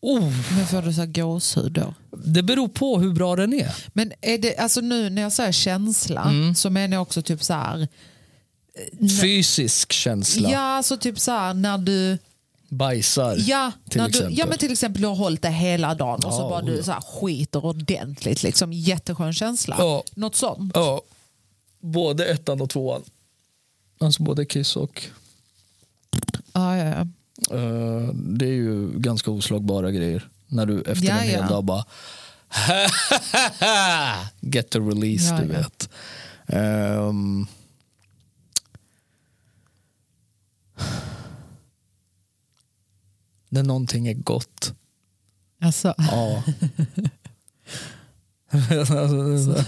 S1: oh,
S2: Men får du så här gåshud då?
S1: det beror på hur bra den är.
S2: Men är det, alltså nu när jag säger känsla
S1: Mm.
S2: så menar jag också typ så här.
S1: Fysisk känsla,
S2: Ja, alltså typ så här när du...
S1: bajsar
S2: Ja,
S1: till
S2: när du,
S1: exempel.
S2: ja men till exempel du har hållit det hela dagen och så
S1: Ja,
S2: bara
S1: oj
S2: du
S1: då.
S2: så här skiter ordentligt. Liksom. Jätteskön känsla.
S1: Ja.
S2: Något sånt.
S1: ja, både ettan och tvåan. Alltså både kiss och...
S2: Ja, ja, ja.
S1: eh, det är ju ganska oslagbara grejer. När du efter
S2: Ja,
S1: en hel
S2: ja.
S1: dag bara... Get the release,
S2: Ja,
S1: du
S2: ja.
S1: vet. Ehm, när någonting är gott.
S2: Alltså,
S1: Ja. Alltså, det är så-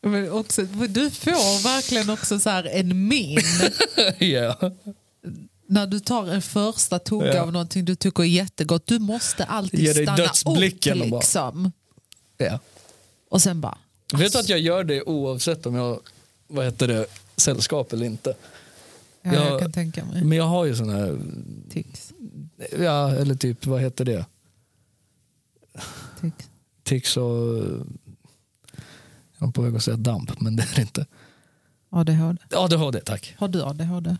S2: men också, du får verkligen också så här en min
S1: Ja.
S2: när du tar en första tugga
S1: Ja.
S2: av någonting du tycker är jättegott. Du måste alltid
S1: Ge dig
S2: stanna
S1: dödsblicken och
S2: upp.
S1: bara-
S2: Liksom.
S1: Ja.
S2: Och sen bara...
S1: Vet du att jag gör det oavsett om jag har, vad heter det, sällskap eller inte.
S2: Ja,
S1: Jag-
S2: jag kan tänka mig.
S1: Men jag har ju sån här,
S2: Tics,
S1: ja, eller typ vad heter det,
S2: tics.
S1: tics och... Jag var på väg att säga damp, men det är det inte.
S2: ADHD.
S1: ADHD, tack.
S2: Har du ADHD?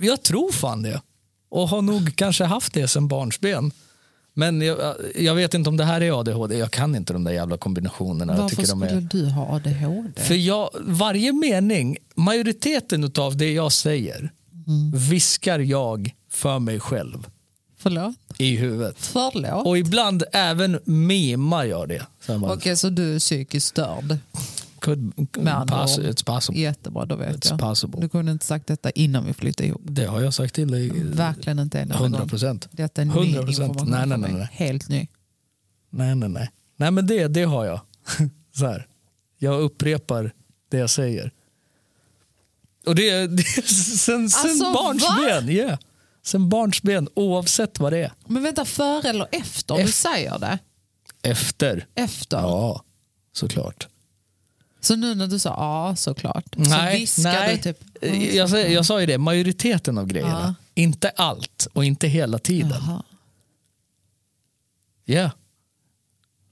S1: Jag tror fan det. Och har nog kanske haft det sedan barnsben. Men jag, jag vet inte om det här är ADHD. Jag kan inte de där jävla kombinationerna. jag
S2: Varför
S1: tycker de är...
S2: skulle du ha ADHD?
S1: För jag, varje mening, majoriteten av det jag säger
S2: Mm.
S1: viskar jag för mig själv
S2: Förlåt?
S1: i huvudet.
S2: Förlåt?
S1: Och ibland även mimar jag det. Så man,
S2: Okej, så du är psykiskt störd?
S1: could,
S2: Med andra
S1: pass,
S2: ord.
S1: it's possible.
S2: Jättebra, då vet
S1: It's
S2: jag.
S1: possible.
S2: Du kunde inte sagt detta innan vi flyttade ihop.
S1: Det har jag sagt till dig.
S2: Verkligen inte en enda gång.
S1: 100 procent.
S2: Detta är ny
S1: 100%.
S2: information
S1: Nej, nej,
S2: för
S1: nej,
S2: mig.
S1: nej.
S2: Helt ny.
S1: Nej, nej, nej. Nej, men det, det har jag. Så här. Jag upprepar det jag säger. Och det, det sen, sen
S2: Alltså,
S1: barnsben. Yeah. Sen barnsben, oavsett vad det är.
S2: Men vänta, före eller efter? Du
S1: Efter.
S2: säger det.
S1: Efter.
S2: Efter.
S1: Ja, såklart.
S2: Så nu när du sa ja, såklart. så viskar du typ...
S1: Eh, jag, sa, jag sa ju det, majoriteten av grejerna. Inte allt och inte hela tiden.
S2: Jaha.
S1: Ja.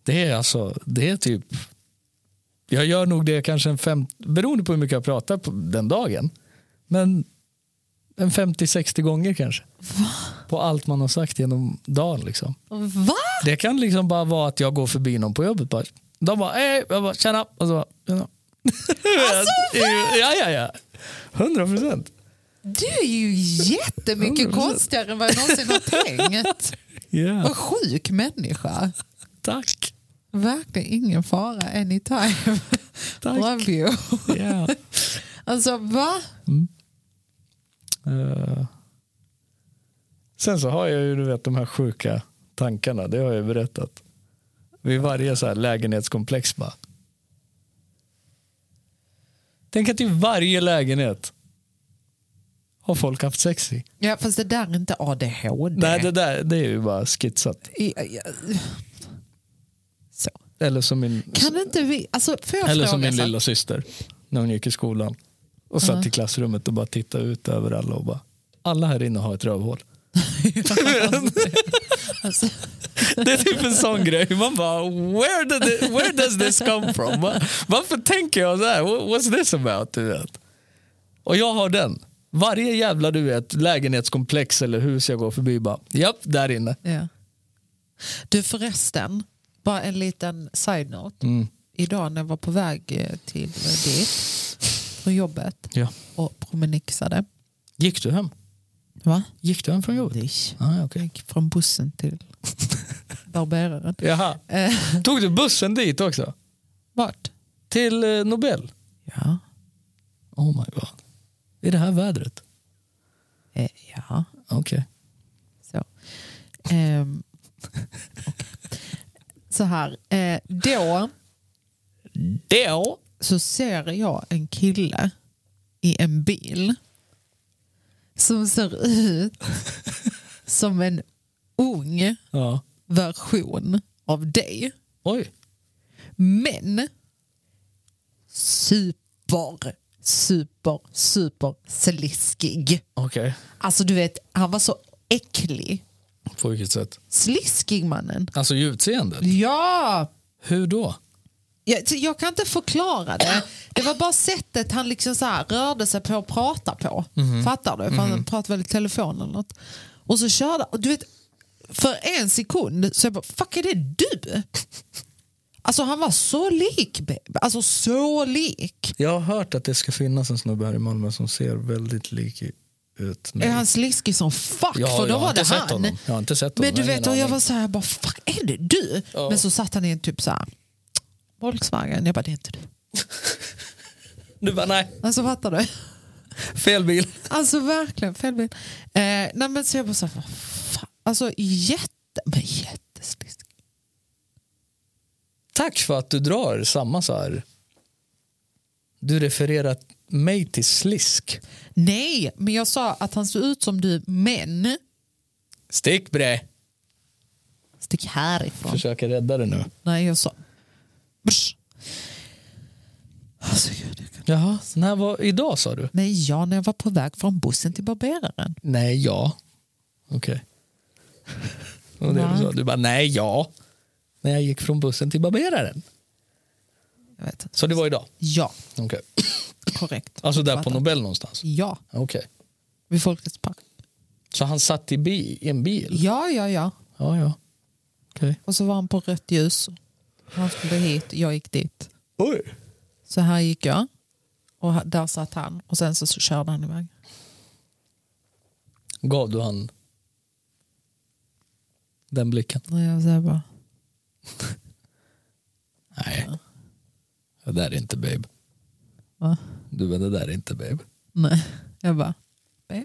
S1: Det är alltså, det är typ... Jag gör nog det kanske en fem... Beroende på hur mycket jag pratar på den dagen. Men en 50-60 gånger kanske. På allt man har sagt genom dagen. Liksom.
S2: Va?
S1: Det kan liksom bara vara att jag går förbi någon på jobbet. Bara, de bara, hej, jag bara, tjena. Och så bara, tjena. Alltså, ja, ja, ja. 100 procent.
S2: Du är ju jättemycket
S1: 100%.
S2: konstigare än vad jag någonsin har tänkt.
S1: Yeah.
S2: Vad sjuk människa.
S1: Tack.
S2: Verkligen ingen fara anytime.
S1: Tack.
S2: Love you.
S1: Yeah.
S2: Alltså va?
S1: Eh, Sen så har jag ju du vet, de här sjuka tankarna, det har jag ju berättat. Vid varje så här lägenhetskomplex bara. Tänk att i varje lägenhet har folk haft sex i.
S2: Ja, fast det där är inte ADHD.
S1: Nej, det där det är ju bara skitsat.
S2: I- I- Så.
S1: Eller som min,
S2: Kan inte vi, alltså får jag
S1: eller
S2: fråga
S1: som min
S2: så här-
S1: lilla syster när hon gick i skolan och
S2: Mm.
S1: satt i klassrummet och bara tittade ut över alla och bara alla här inne har ett rövhål.
S2: Alltså,
S1: Det är typ en sån grej. Man bara, where, did it, where does this come from? Va- Varför tänker jag så här? Wha- What's this about? Du vet? Och jag har den. Varje jävla du vet, lägenhetskomplex eller hus jag går förbi bara, japp, där inne.
S2: ja. Du förresten, bara en liten side-note.
S1: Mm,
S2: Idag när jag var på väg eh, till eh, dit från jobbet
S1: Ja.
S2: och promenixade.
S1: Gick du hem?
S2: Va?
S1: Gick du hem från jobbet?
S2: Dish.
S1: Ah,
S2: Jag
S1: okay.
S2: gick från bussen till barberaren.
S1: Jaha.
S2: Eh,
S1: Tog du bussen dit också?
S2: vart?
S1: Till eh, Nobel?
S2: Ja.
S1: Oh my god. I det här vädret?
S2: Eh, ja.
S1: Okej.
S2: Så. Ehm, okej. Så här, eh, då
S1: Då?
S2: så ser jag en kille i en bil som ser ut som en ung
S1: Ja.
S2: version av dig.
S1: Oj.
S2: Men super, super, super sliskig.
S1: Okej.
S2: Alltså du vet, han var så äcklig.
S1: På vilket sätt?
S2: Sliskig mannen.
S1: Alltså i utseendet?
S2: Ja,
S1: Hur då?
S2: Jag, så jag kan inte förklara det. Det var bara sättet han liksom så här rörde sig på och pratade på.
S1: Mhm.
S2: Fattar du? För Han pratade väl i telefon eller något. Och så körde och du vet, för en sekund så jag bara, fuck är det du? Alltså han var så lik, babe. alltså så lik.
S1: Jag har hört att det ska finnas en snubbe här i Malmö som ser väldigt lik ut.
S2: Är han sliskig som fuck?
S1: Mm. Ja,
S2: för då
S1: jag har
S2: var
S1: inte
S2: det
S1: sett
S2: han.
S1: honom. Jag har inte sett honom.
S2: Men du
S1: Jag har
S2: vet,
S1: ingen
S2: och jag
S1: aning.
S2: var så här, bara, fuck är det du?
S1: Ja.
S2: Men så satt han i en typ så här, Volkswagen. Jag bara, det är inte du.
S1: Du bara, nej,
S2: Alltså fattar du?
S1: fel bil.
S2: Alltså verkligen, fel bild. Eh, nej men så jag bara så här, vad fan. Alltså jätte, men jättesliskig.
S1: Tack för att du drar samma så här. Du refererar mig till slisk.
S2: Nej, men jag sa att han såg ut som du, men
S1: Stick bre.
S2: stick härifrån.
S1: Försöker rädda det nu.
S2: Nej, jag sa, Brsch. Alltså gud, jag kan...
S1: Jaha, när var, idag sa du?
S2: Men ja, när jag var på väg från bussen till barberaren.
S1: Nej, ja. Okej. Det var Det
S2: Va?
S1: du, sa. du bara, nej, ja. När jag gick från bussen till barberaren.
S2: Jag vet inte.
S1: Så det var idag?
S2: Ja,
S1: Okej.
S2: korrekt.
S1: Alltså där på
S2: Fattar.
S1: Nobel någonstans?
S2: Ja,
S1: Okej.
S2: vid Folkets park.
S1: Så han satt i, bi, i en bil?
S2: Ja, ja, ja.
S1: Ja, ja. Okej.
S2: Och så var han på rött ljus. Han skulle hit, jag gick dit.
S1: Oj.
S2: Så här gick jag och ha- där satt han och sen så, så körde han iväg.
S1: Gav du han den blicken?
S2: Och jag så här bara,
S1: Nej. Det där är inte babe.
S2: va?
S1: Du men det där är inte babe.
S2: Nej. Jag bara, babe?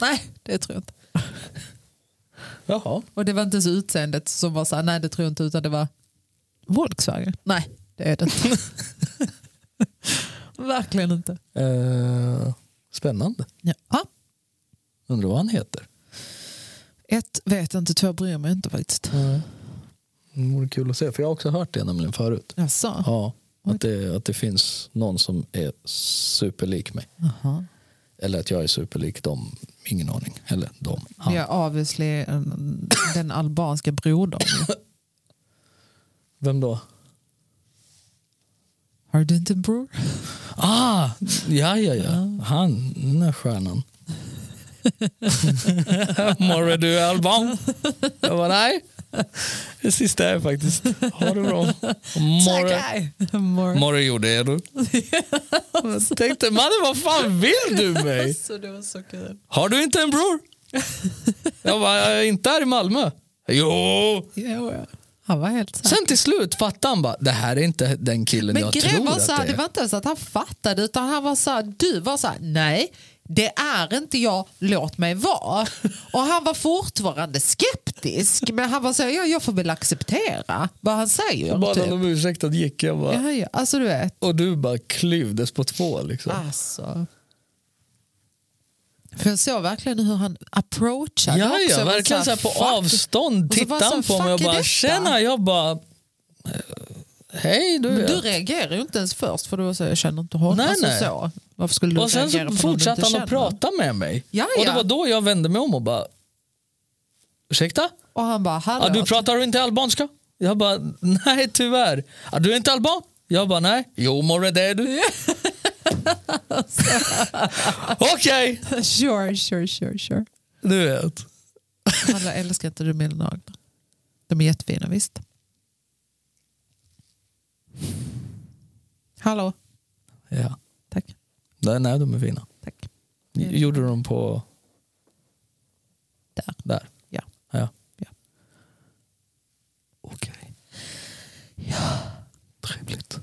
S2: Nej, det tror jag inte.
S1: Jaha.
S2: Och det var inte så utseendet som var så här, nej det tror jag inte utan det var Volkswagen. Nej, det är det inte. Verkligen inte.
S1: Eh, spännande.
S2: Ja.
S1: Undrar vad han heter.
S2: Ett vet jag inte, två bryr mig inte faktiskt.
S1: Det vore kul att se, för jag har också hört det nämligen förut.
S2: Jaså?
S1: Ja, att det, att det finns någon som är superlik mig.
S2: Jaha.
S1: Eller att jag är superlik dem. Ingen aning. Eller dem. Han.
S2: Vi har obviously eh, den albanska brodern.
S1: Vem då?
S2: Har du inte en bror?
S1: Ah, ja, ja, ja. Han, den där stjärnan. Morre, du är alban. Jag bara, nej. Det sista är faktiskt. Ha det bra. Morre,
S2: More.
S1: Morre gjorde det, du. Jag tänkte, mannen vad fan vill du mig?
S2: Så det var så kul.
S1: Har du inte en bror? Jag bara, jag är inte här i Malmö. Jo,
S2: Ja, ja. Han var helt så här.
S1: Sen till slut fattade han bara, det här är inte den killen
S2: Men
S1: jag
S2: grejen
S1: tror
S2: var
S1: att
S2: så
S1: det
S2: här, det
S1: är.
S2: var inte ens att han fattade utan han var så här, du var så här, nej det är inte jag, låt mig vara. Och han var fortfarande skeptisk men han var så här, ja, jag får väl acceptera vad han
S1: Jag
S2: säger.
S1: bad
S2: Typ.
S1: honom om ursäkt att gick. Jag bara,
S2: Ja, ja, alltså du vet,
S1: Och du bara klyvdes på två liksom.
S2: alltså. För jag såg verkligen hur han approachade
S1: Ja,
S2: också. Jag
S1: ja,
S2: var
S1: verkligen så här på
S2: fuck.
S1: avstånd
S2: Och så bara
S1: tittade han
S2: så här,
S1: på mig och
S2: fuck är
S1: bara
S2: detta?
S1: tjena, jag bara eh, hej du.
S2: Men
S1: ja.
S2: du reagerar ju inte ens först för du var så här, jag känner inte honom.
S1: Nej,
S2: alltså,
S1: nej.
S2: Så. Varför skulle du
S1: och sen
S2: reagera
S1: så
S2: på någon du
S1: fortsatte
S2: inte
S1: han att
S2: känner?
S1: prata med mig.
S2: Ja,
S1: Och det
S2: ja.
S1: var då jag vände mig om och bara ursäkta?
S2: Och han bara, hallå.
S1: Ja, du pratar inte albanska? Jag bara nej tyvärr. Ja, du är inte alban? Jag bara nej. Jo morre det är du. Okej.
S2: Sure, sure, sure, sure.
S1: Du vet.
S2: Alla älskar inte du mina naglar. De är jättefina visst. Hallå.
S1: Ja.
S2: Tack.
S1: Nej, nej de är fina.
S2: Tack.
S1: Gjorde de på
S2: Där.
S1: där?
S2: Ja.
S1: Ja.
S2: Ja.
S1: Okej. Ja. Trevligt.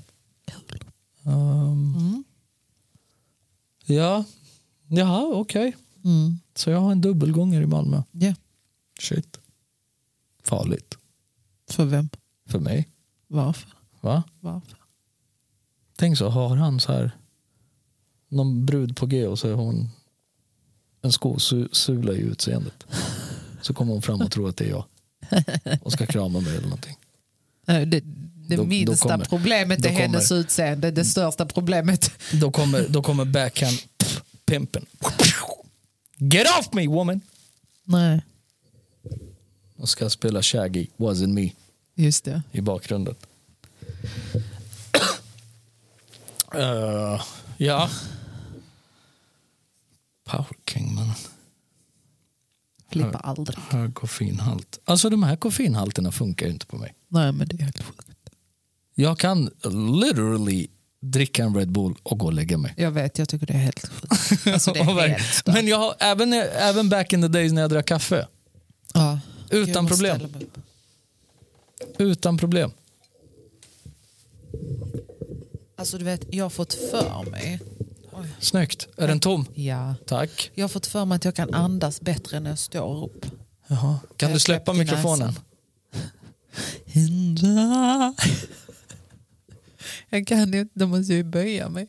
S2: Kul.
S1: Ehm,
S2: Mm.
S1: ja. Jaha, okej.
S2: Mm.
S1: Så jag har en dubbelgångare i Malmö.
S2: Ja.
S1: Shit. Farligt.
S2: För vem?
S1: För mig.
S2: Varför?
S1: Va?
S2: Varför?
S1: Tänk så, har han så här någon brud på g och så är hon en skosula i utseendet. Så kommer hon fram och tror att det är jag. Och ska krama mig eller någonting.
S2: Nej, Det, det
S1: Då- då
S2: minsta
S1: kommer-
S2: problemet
S1: då
S2: är hennes utseende. Det största problemet.
S1: Då kommer, då kommer backhand pff, pimpen. Get off me woman!
S2: Nej,
S1: Och ska spela Shaggy, wasn't me,
S2: just det.
S1: i bakgrunden. Eh, ja. Power King man.
S2: Flippa aldrig.
S1: Hög koffeinhalt. Alltså de här koffeinhalterna funkar ju inte på mig.
S2: Nej, men det är helt sjukt.
S1: Jag kan literally dricka en Red Bull och gå och lägga mig.
S2: Jag vet, jag tycker det är helt sjukt. Alltså, det
S1: Och
S2: är
S1: verkligen-
S2: helt stört.
S1: Men jag har, även, även back in the days när jag drack kaffe.
S2: ja.
S1: Utan
S2: Jag måste
S1: problem.
S2: ställa mig upp.
S1: Utan problem.
S2: Alltså du vet, jag har fått för mig. Oj.
S1: Snyggt. Är den tom?
S2: Ja.
S1: Tack.
S2: Jag har fått för mig att jag kan andas bättre när jag står upp.
S1: Jaha. Kan du
S2: Jag
S1: släppa
S2: släppte
S1: mikrofonen?
S2: näsan. Hindra. Jag kan ju inte, då måste jag ju böja mig.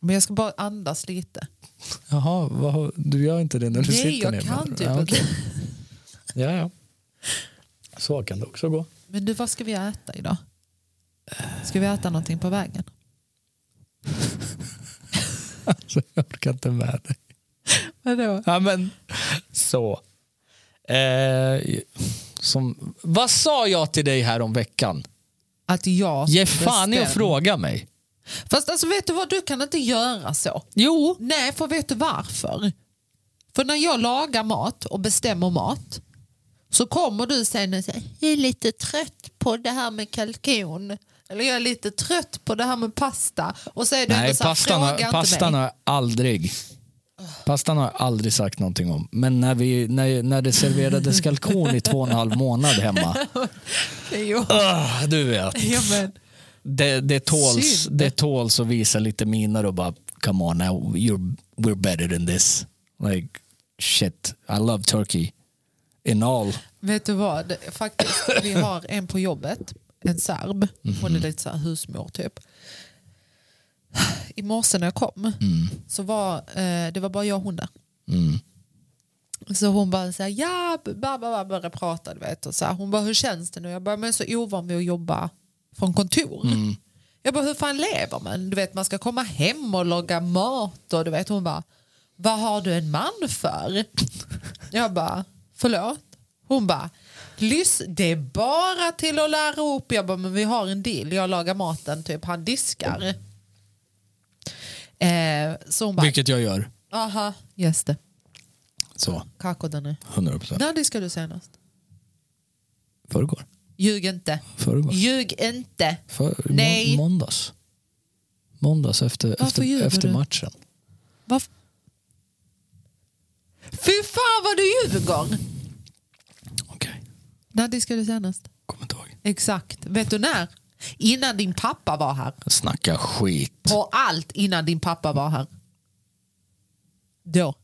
S2: Men jag ska bara andas lite.
S1: Jaha, vad, har- du gör inte det när du
S2: Nej,
S1: sitter
S2: jag
S1: ner? menar
S2: kan
S1: du?
S2: typ
S1: Ja,
S2: inte.
S1: okej. ja, ja. Så kan det också gå.
S2: Men du, vad ska vi äta idag? Ska vi äta någonting på vägen?
S1: Alltså, jag orkar inte med dig.
S2: Vadå?
S1: Ja, men, så. Eh, som, vad sa jag till dig här om veckan?
S2: Att jag
S1: Ge fan i att
S2: bestämmer.
S1: fråga mig.
S2: Fast alltså vet du vad, du kan inte göra så.
S1: Jo.
S2: Nej, för vet du varför? För när jag lagar mat och bestämmer mat så kommer du sen och säger jag är lite trött på det här med kalkon. Eller jag är lite trött på det här med pasta. Och så är du
S1: Nej,
S2: ändå så här,
S1: pastan,
S2: fråga
S1: har,
S2: inte
S1: pastan
S2: mig.
S1: har jag aldrig. Pastan har jag aldrig sagt någonting om. Men när, vi, när, när det serverades kalkon i två och en halv månad hemma.
S2: Jo,
S1: Ah, du vet.
S2: ja, men,
S1: Det, det, tåls,
S2: Synd.
S1: det tåls att visa lite miner och bara come on now, you're, we're better than this. Like shit, I love turkey. In all.
S2: vet du vad, faktiskt, vi har en på jobbet, en serb. Hon är lite så här husmor typ. I morse när jag kom så var eh, det var bara jag och hon där.
S1: Mm.
S2: Så hon bara så här, ja, bara, bara, bara prata, du vet. Och så här, hon bara, hur känns det nu? Jag bara, men jag är så ovan vid att jobba från kontor. Jag bara, hur fan lever man? Du vet, man ska komma hem och laga mat och du vet, hon bara, vad har du en man för? Jag bara, förlåt? Hon bara, Lys, det är bara till att lära upp. Jag bara, men vi har en deal. Jag lagar maten, typ han diskar. Eh, så hon bara,
S1: Vilket jag gör.
S2: aha, just det.
S1: Så,
S2: Kako den är.
S1: 100 procent.
S2: När diskade du senast?
S1: Förrgår.
S2: Ljug inte.
S1: Förrgår.
S2: Ljug inte.
S1: För,
S2: Nej.
S1: må, måndags. Måndags efter,
S2: Varför
S1: efter,
S2: ljuger
S1: efter
S2: du?
S1: matchen.
S2: Varför? Fy fan vad du ljuger!
S1: Okej,
S2: När diskade du senast?
S1: kom
S2: Exakt. Vet du när? Innan din pappa var här.
S1: Snacka skit.
S2: Och allt innan din pappa var här. Då.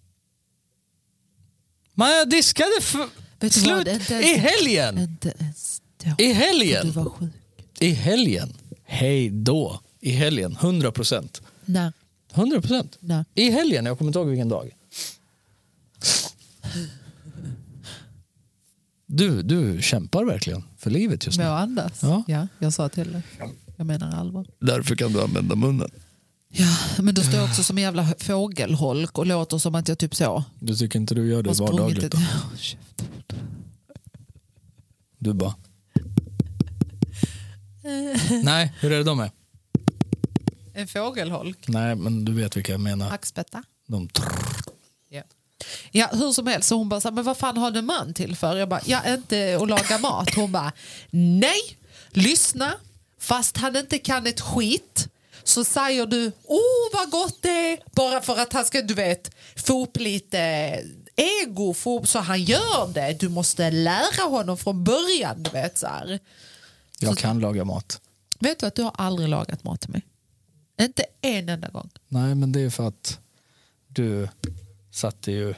S1: Men jag diskade för...
S2: Vet du
S1: Slut
S2: vad? Inte ens-
S1: i helgen!
S2: Inte ens då.
S1: I
S2: Du
S1: helgen!
S2: var sjuk.
S1: I helgen. Hej då. I helgen. 100 procent.
S2: När?
S1: 100 procent.
S2: När?
S1: I helgen. Jag kommer inte ihåg vilken dag. Du, du kämpar verkligen för livet just
S2: Må
S1: nu.
S2: andas.
S1: Ja.
S2: Ja. jag sa till dig. Jag menar allvar.
S1: Därför kan du använda munnen.
S2: Ja, men då står jag också som en jävla fågelholk och låter som att jag typ så.
S1: Du tycker inte du gör det
S2: har sprungit
S1: vardagligt?
S2: ett-
S1: Då?
S2: Ja, käft.
S1: Du bara... Nej, hur är det de är?
S2: En fågelholk?
S1: Nej, men du vet vilka jag menar.
S2: Hackspetta?
S1: De trrr.
S2: Ja. ja, hur som helst. Så hon bara, så här, men vad fan har du en man till för? Jag bara, ja inte att laga mat. Hon bara, nej, lyssna. Fast han inte kan ett skit så säger du, oh vad gott det är. Bara för att han ska, du vet, få upp lite ego. Få upp, så han gör det. Du måste lära honom från början, du vet så här.
S1: Jag kan laga mat.
S2: Vet du att du har aldrig lagat mat till mig? Inte en enda gång.
S1: Nej, men det är för att du satte ju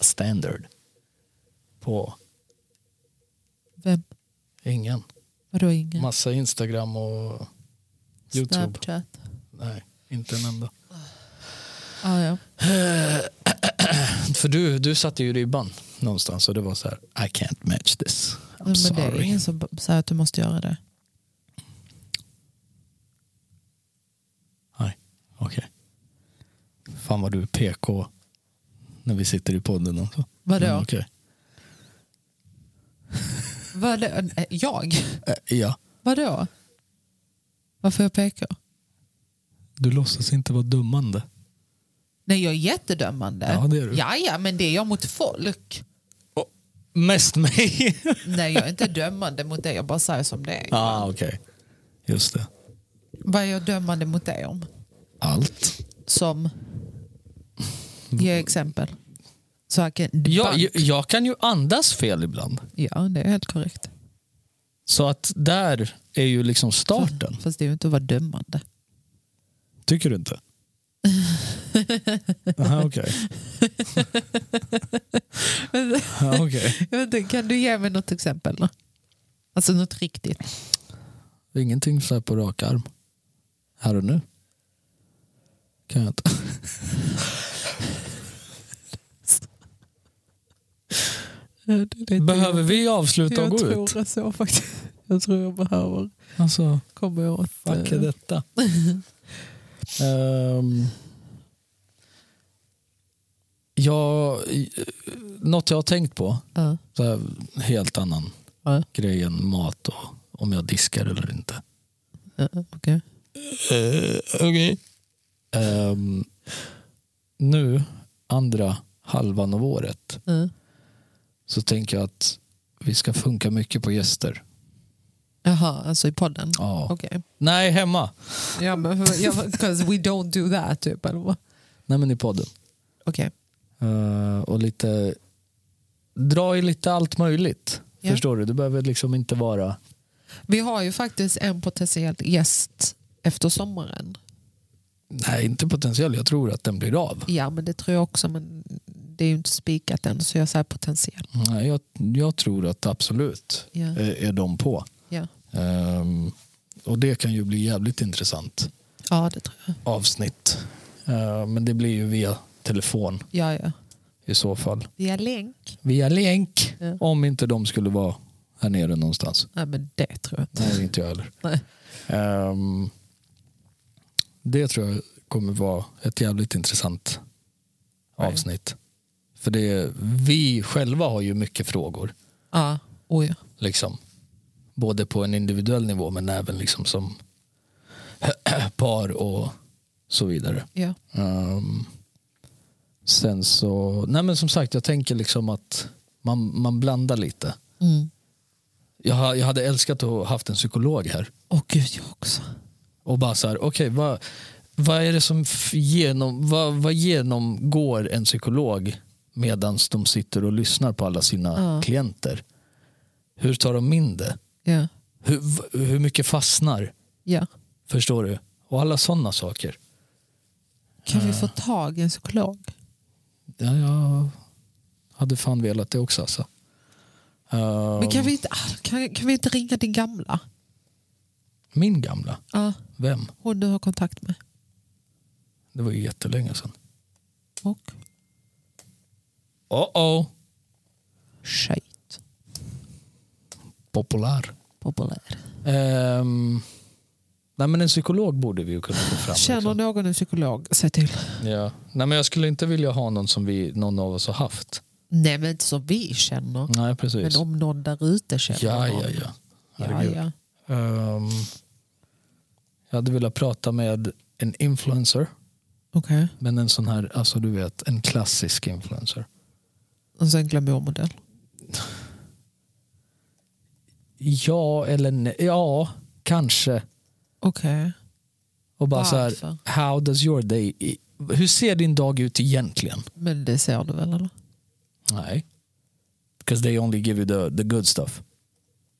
S1: standard på
S2: Vem?
S1: ingen.
S2: Mm. Vadå ingen?
S1: Massa Instagram och YouTube.
S2: Snapchat?
S1: Nej, inte en enda.
S2: Ah, ja.
S1: För du, du satte ju ribban någonstans och det var så här, I can't match this. I'm
S2: Men det är
S1: sorry.
S2: ingen som b- säger att du måste göra det.
S1: Nej, okej. Fan vad du är PK när vi sitter i podden. Också.
S2: Vadå?
S1: Men okej.
S2: Vadå? Eh, Jag?
S1: Eh, ja.
S2: Vadå? Varför jag pekar?
S1: Du låtsas inte vara dummande.
S2: Nej, jag är jättedömande.
S1: Ja, det är du.
S2: Ja, ja, men det är jag mot folk.
S1: mest mig. Ja,
S2: Nej, jag är inte dömande mot dig. Jag bara säger som det är.
S1: ah, okej. Just det.
S2: Vad är jag dömande mot dig om?
S1: Allt.
S2: Som? Ge exempel. Så jag kan...
S1: Jag, jag, jag kan ju andas fel ibland.
S2: ja, det är helt korrekt.
S1: Så att där är ju liksom starten.
S2: Fast det är ju inte att vara dömande.
S1: Tycker du inte? Aha, okej. Ja, okej.
S2: Jag vet inte, kan du ge mig något exempel? Då? Alltså något riktigt.
S1: Ingenting så här på rak arm. Här och nu. Kan jag inte. Behöver vi avsluta och
S2: typ- jag
S1: gå
S2: tror
S1: ut?
S2: Jag så faktiskt. Jag tror jag behöver
S1: Alltså,
S2: komma åt...
S1: fuck är
S2: eh,
S1: detta? Ehm, jag, eh, något jag har tänkt på,
S2: ja,
S1: så här, helt annan
S2: ja,
S1: grej än mat och om jag diskar eller inte.
S2: ja, okej.
S1: Okej. Ehm, nu, andra halvan av året,
S2: Ja.
S1: så tänker jag att vi ska funka mycket på gäster.
S2: Jaha, alltså i podden?
S1: Ja.
S2: Okej.
S1: Nej, hemma.
S2: Ja, men because we don't do that typ. eller vad?
S1: Nej, men i podden.
S2: Okej.
S1: Eh, och lite... Dra i lite allt möjligt.
S2: Ja.
S1: Förstår du? Det behöver liksom inte vara...
S2: Vi har ju faktiskt en potentiell gäst efter sommaren.
S1: Nej, inte potentiell. Jag tror att den blir av.
S2: Ja, men det tror jag också, men det är ju inte spikat än, så jag säger potentiell.
S1: Nej, jag, jag tror att absolut
S2: Ja.
S1: är, är de på.
S2: Ja.
S1: Ehm, och det kan ju bli jävligt intressant.
S2: ja, det tror jag.
S1: avsnitt. Eh, Men det blir ju via telefon
S2: Ja, ja.
S1: i så fall.
S2: Via länk?
S1: Via länk.
S2: Ja.
S1: Om inte de skulle vara här nere någonstans.
S2: Nej, men det tror jag inte.
S1: Nej, inte jag heller.
S2: Nej.
S1: Ehm, det tror jag kommer vara ett jävligt intressant
S2: Right.
S1: avsnitt. För det, vi själva har ju mycket frågor.
S2: Ja, oj. ja.
S1: Liksom. Både på en individuell nivå men även liksom som par och så vidare.
S2: Ja.
S1: Ehm, sen så, nej men som sagt jag tänker liksom att man, man blandar lite.
S2: Mm.
S1: Jag, ha- jag hade älskat att ha haft en psykolog här
S2: Åh gud, jag också.
S1: och bara så här, okej vad, vad är det som f- genom, vad, vad genomgår en psykolog medan de sitter och lyssnar på alla sina
S2: Ja.
S1: klienter? Hur tar de in det?
S2: Ja.
S1: Hur, v- hur mycket fastnar?
S2: ja.
S1: Förstår du? Och alla sådana saker.
S2: Kan vi få tag i en psykolog?
S1: Ja, jag hade fan velat det också alltså. Eh,
S2: Men kan, vi inte, ah, kan, kan vi inte ringa din gamla?
S1: Min gamla,
S2: Ja.
S1: vem?
S2: Hon du har kontakt med.
S1: Det var ju jättelänge sedan.
S2: Och?
S1: Oh oh,
S2: Shit.
S1: populär.
S2: Populär.
S1: Ehm, nej men en psykolog borde vi ju kunna få fram.
S2: Känner
S1: liksom.
S2: någon en psykolog, säg till.
S1: Ja. Nej men jag skulle inte vilja ha någon som vi, någon av oss har haft.
S2: Nej, men inte som vi känner.
S1: Nej precis.
S2: Men om någon där ute känner
S1: Mm, Ja,
S2: någon.
S1: ja, ja.
S2: ja,
S1: Herregud.
S2: ja.
S1: Ehm, jag hade velat prata med en influencer.
S2: Okej.
S1: Men en sån här, alltså du vet, en klassisk influencer.
S2: Och sen glamourmodell.
S1: Ja eller nej, ja, kanske.
S2: Okej.
S1: Och bara så här,
S2: Varför?
S1: how does your day, i- hur ser din dag ut egentligen?
S2: Men det ser du väl eller?
S1: Nej. Because they only give you the, the good stuff.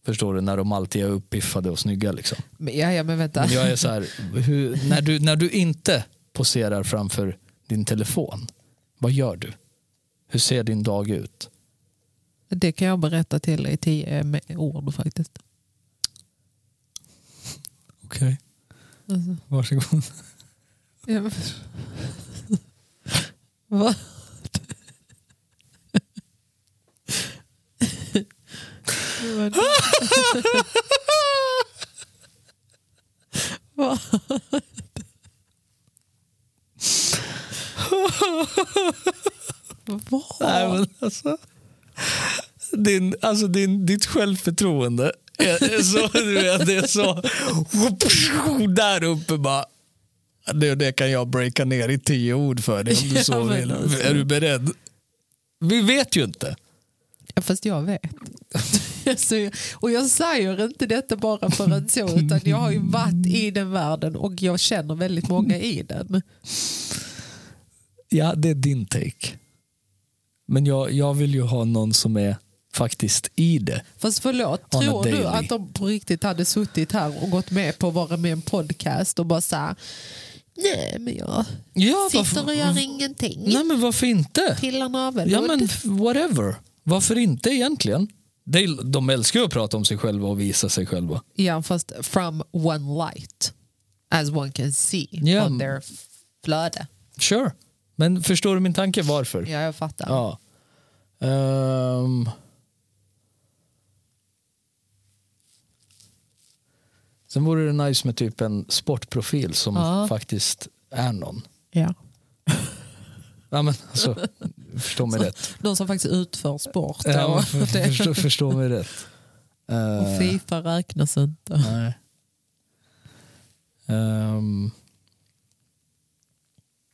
S1: Förstår du? När de alltid är uppiffade och snygga. Liksom.
S2: Men, ja, ja, men vänta.
S1: Men jag är så här, hur, när, du, när du inte poserar framför din telefon, vad gör du? Hur ser din dag ut?
S2: Det kan jag berätta till dig i tio eh, med ord faktiskt.
S1: Okej, okay.
S2: Alltså,
S1: varsågod.
S2: ja, men- Va? Vad? Vad?
S1: Nej, men alltså, din, alltså din, ditt självförtroende är är så, du vet, det är så där uppe bara. Det, det kan jag breaka ner i tio ord för dig om du
S2: Ja,
S1: så
S2: men
S1: vill.
S2: alltså.
S1: Är du beredd? Vi vet ju inte.
S2: Ja, fast jag vet. Alltså, och jag säger inte detta bara för att så, utan jag har ju varit i den världen och jag känner väldigt många i den.
S1: Ja, det är din take. Men jag, jag vill ju ha någon som är faktiskt i det.
S2: Fast förlåt,
S1: On a
S2: tror du
S1: daily.
S2: att de på riktigt hade suttit här och gått med på att vara med i en podcast och bara så här, nej men jag
S1: Ja,
S2: sitter och gör ingenting,
S1: Nej, men varför inte?
S2: pillar naveln.
S1: Ja, men whatever. Varför inte egentligen? De, de älskar ju att prata om sig själva och visa sig själva.
S2: ja, fast from one light, as one can see
S1: Ja.
S2: on their flöde.
S1: Sure. Men förstår du min tanke varför?
S2: Ja, jag fattar.
S1: Ja. Ehm. Sen vore det nice med typ en sportprofil som
S2: Ja.
S1: faktiskt är någon.
S2: Ja.
S1: Ja, men, alltså, förstå mig rätt.
S2: Någon som faktiskt utför sport.
S1: Ja,
S2: och,
S1: men för, förstå, förstå mig rätt. Eh,
S2: och Fifa räknas inte.
S1: nej. Ehm,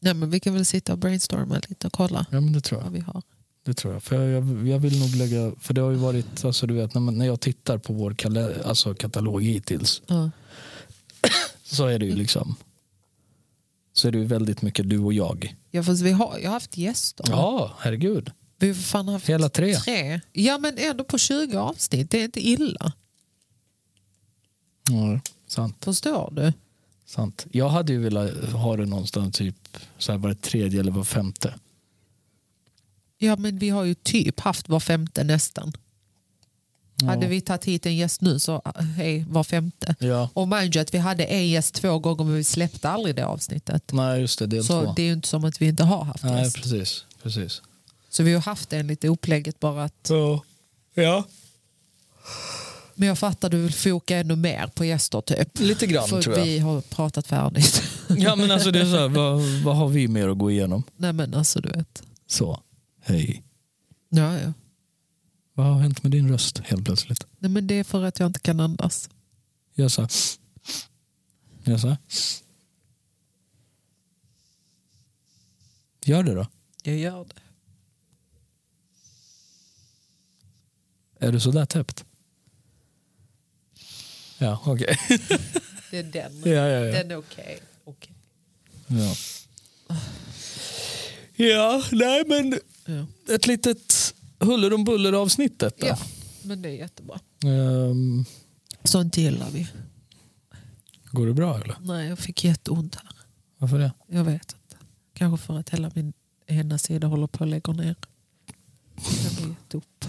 S2: Nej, men vi kan väl sitta och brainstorma lite och kolla
S1: ja, men det tror jag.
S2: vad vi har.
S1: Det tror jag. För jag, jag, jag vill nog lägga, för det har ju varit, alltså du vet när, man, när jag tittar på vår kale, alltså katalog hittills
S2: Ja.
S1: så är det ju liksom så är det ju väldigt mycket du och jag.
S2: Ja, fast vi har ju haft gäster.
S1: Ja, herregud.
S2: Vi har för fan haft
S1: Hela tre.
S2: tre. Ja, men ändå på 20 avsnitt. Det är inte illa.
S1: Ja, sant,
S2: Förstår du?
S1: sant. Jag hade ju velat ha det någonstans typ så här var det tredje eller var femte.
S2: Ja, men vi har ju typ haft var femte nästan.
S1: Ja.
S2: Hade vi tagit hit en gäst nu så ah, hej, var femte.
S1: Ja,
S2: Och mind you att vi hade en gäst två gånger men vi släppte aldrig det avsnittet.
S1: nej just det, del
S2: Så
S1: två.
S2: det är ju inte som att vi inte har haft
S1: nej,
S2: gäst.
S1: precis, precis.
S2: Så vi har haft en lite upplägget bara att
S1: Så, ja.
S2: Men jag fattar, du vill foka ännu mer på gäster typ.
S1: Lite grann
S2: För
S1: tror jag.
S2: vi har pratat färdigt.
S1: Ja men alltså det är så här, vad, vad har vi mer att gå igenom?
S2: Nej men alltså du vet.
S1: Så, hej.
S2: Ja, ja.
S1: Vad har hänt med din röst helt plötsligt?
S2: Nej, men det är för att jag inte kan andas.
S1: Gör så. här. Gör så. här. Gör det då.
S2: Jag gör det.
S1: Är du sådär täppt? Ja, okej.
S2: Det är den.
S1: Ja, ja, ja.
S2: Den är okej. Okej.
S1: ja. Ja, nej men
S2: Ja.
S1: ett litet huller om buller avsnitt detta.
S2: ja, men det är jättebra.
S1: Ehm,
S2: Sånt gillar vi.
S1: går det bra eller?
S2: Nej, jag fick jätteont här.
S1: Varför det?
S2: Jag vet inte. Kanske för att hela min ena sida håller på att lägga ner. Jag har gett upp.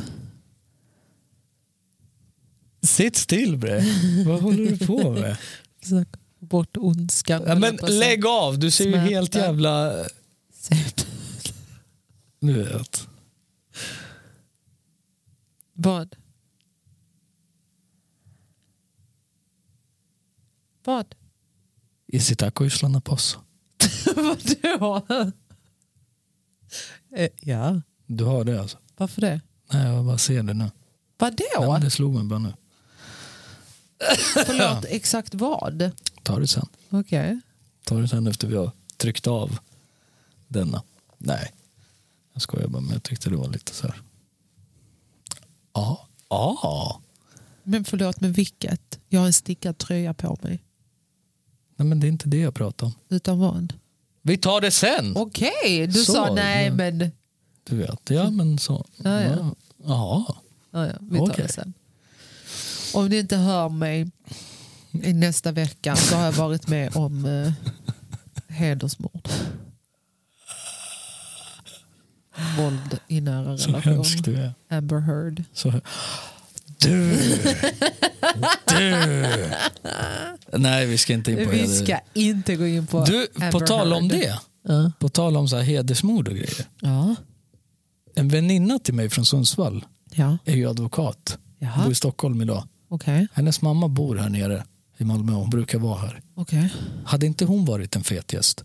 S1: Sitt still bre. Vad håller du på med?
S2: Försöker få bort ondskan.
S1: Ja, men
S2: Eller på
S1: lägg av, du ser ju
S2: Smärta.
S1: helt jävla...
S2: sätt.
S1: Nu vet.
S2: Vad? Vad?
S1: Isitako ysslar na posso.
S2: Vadå? Eh, ja,
S1: Du har det alltså?
S2: varför det?
S1: Nej, jag bara ser det nu.
S2: Vadå?
S1: Nej, men det slog mig bara nu.
S2: Förlåt, exakt vad?
S1: Ta det sen.
S2: Okej.
S1: Ta det sen efter vi har tryckt av denna. Nej, jag skojar bara, men jag tyckte det var lite så här. Ja. Ja.
S2: Men förlåt, men vilket? Jag har en stickad tröja på mig.
S1: Nej, men det är inte det jag pratar om.
S2: Utan vad?
S1: Vi tar det sen!
S2: Okej, du
S1: Så,
S2: sa nej men...
S1: Du vet, ja men så.
S2: Ja, ja.
S1: Jaha.
S2: Ja, ja, vi tar
S1: Okej.
S2: det sen. Om ni inte hör mig i nästa vecka så har jag varit med om eh, hedersmord. Våld i nära
S1: Så hemsk
S2: relation.
S1: du är.
S2: Amber Heard.
S1: Så... Du! du! Nej, vi ska inte in på
S2: Vi
S1: heder.
S2: ska inte gå in på
S1: Du,
S2: Amber
S1: på tal om
S2: Heard.
S1: det.
S2: Ja.
S1: På tal om så här hedersmord och grejer.
S2: Ja.
S1: En väninna till mig från Sundsvall
S2: Ja.
S1: är ju advokat.
S2: Jaha.
S1: Bor i Stockholm idag.
S2: Okej.
S1: Hennes mamma bor här nere i Malmö. Hon brukar vara här.
S2: Okej.
S1: Hade inte hon varit en fet gäst?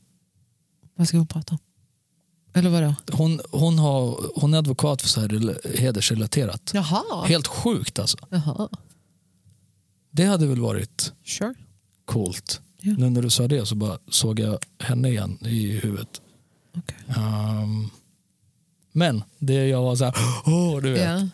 S2: Vad ska hon prata om? Eller vadå?
S1: Hon, hon, har, hon är advokat för så här rel- hedersrelaterat.
S2: Jaha.
S1: Helt sjukt alltså.
S2: Jaha.
S1: Det hade väl varit
S2: Sure.
S1: coolt.
S2: Ja.
S1: Nu när du sa det så bara såg jag henne igen i huvudet.
S2: Okej.
S1: Ehm, men det jag var så här, åh du vet.
S2: Ja.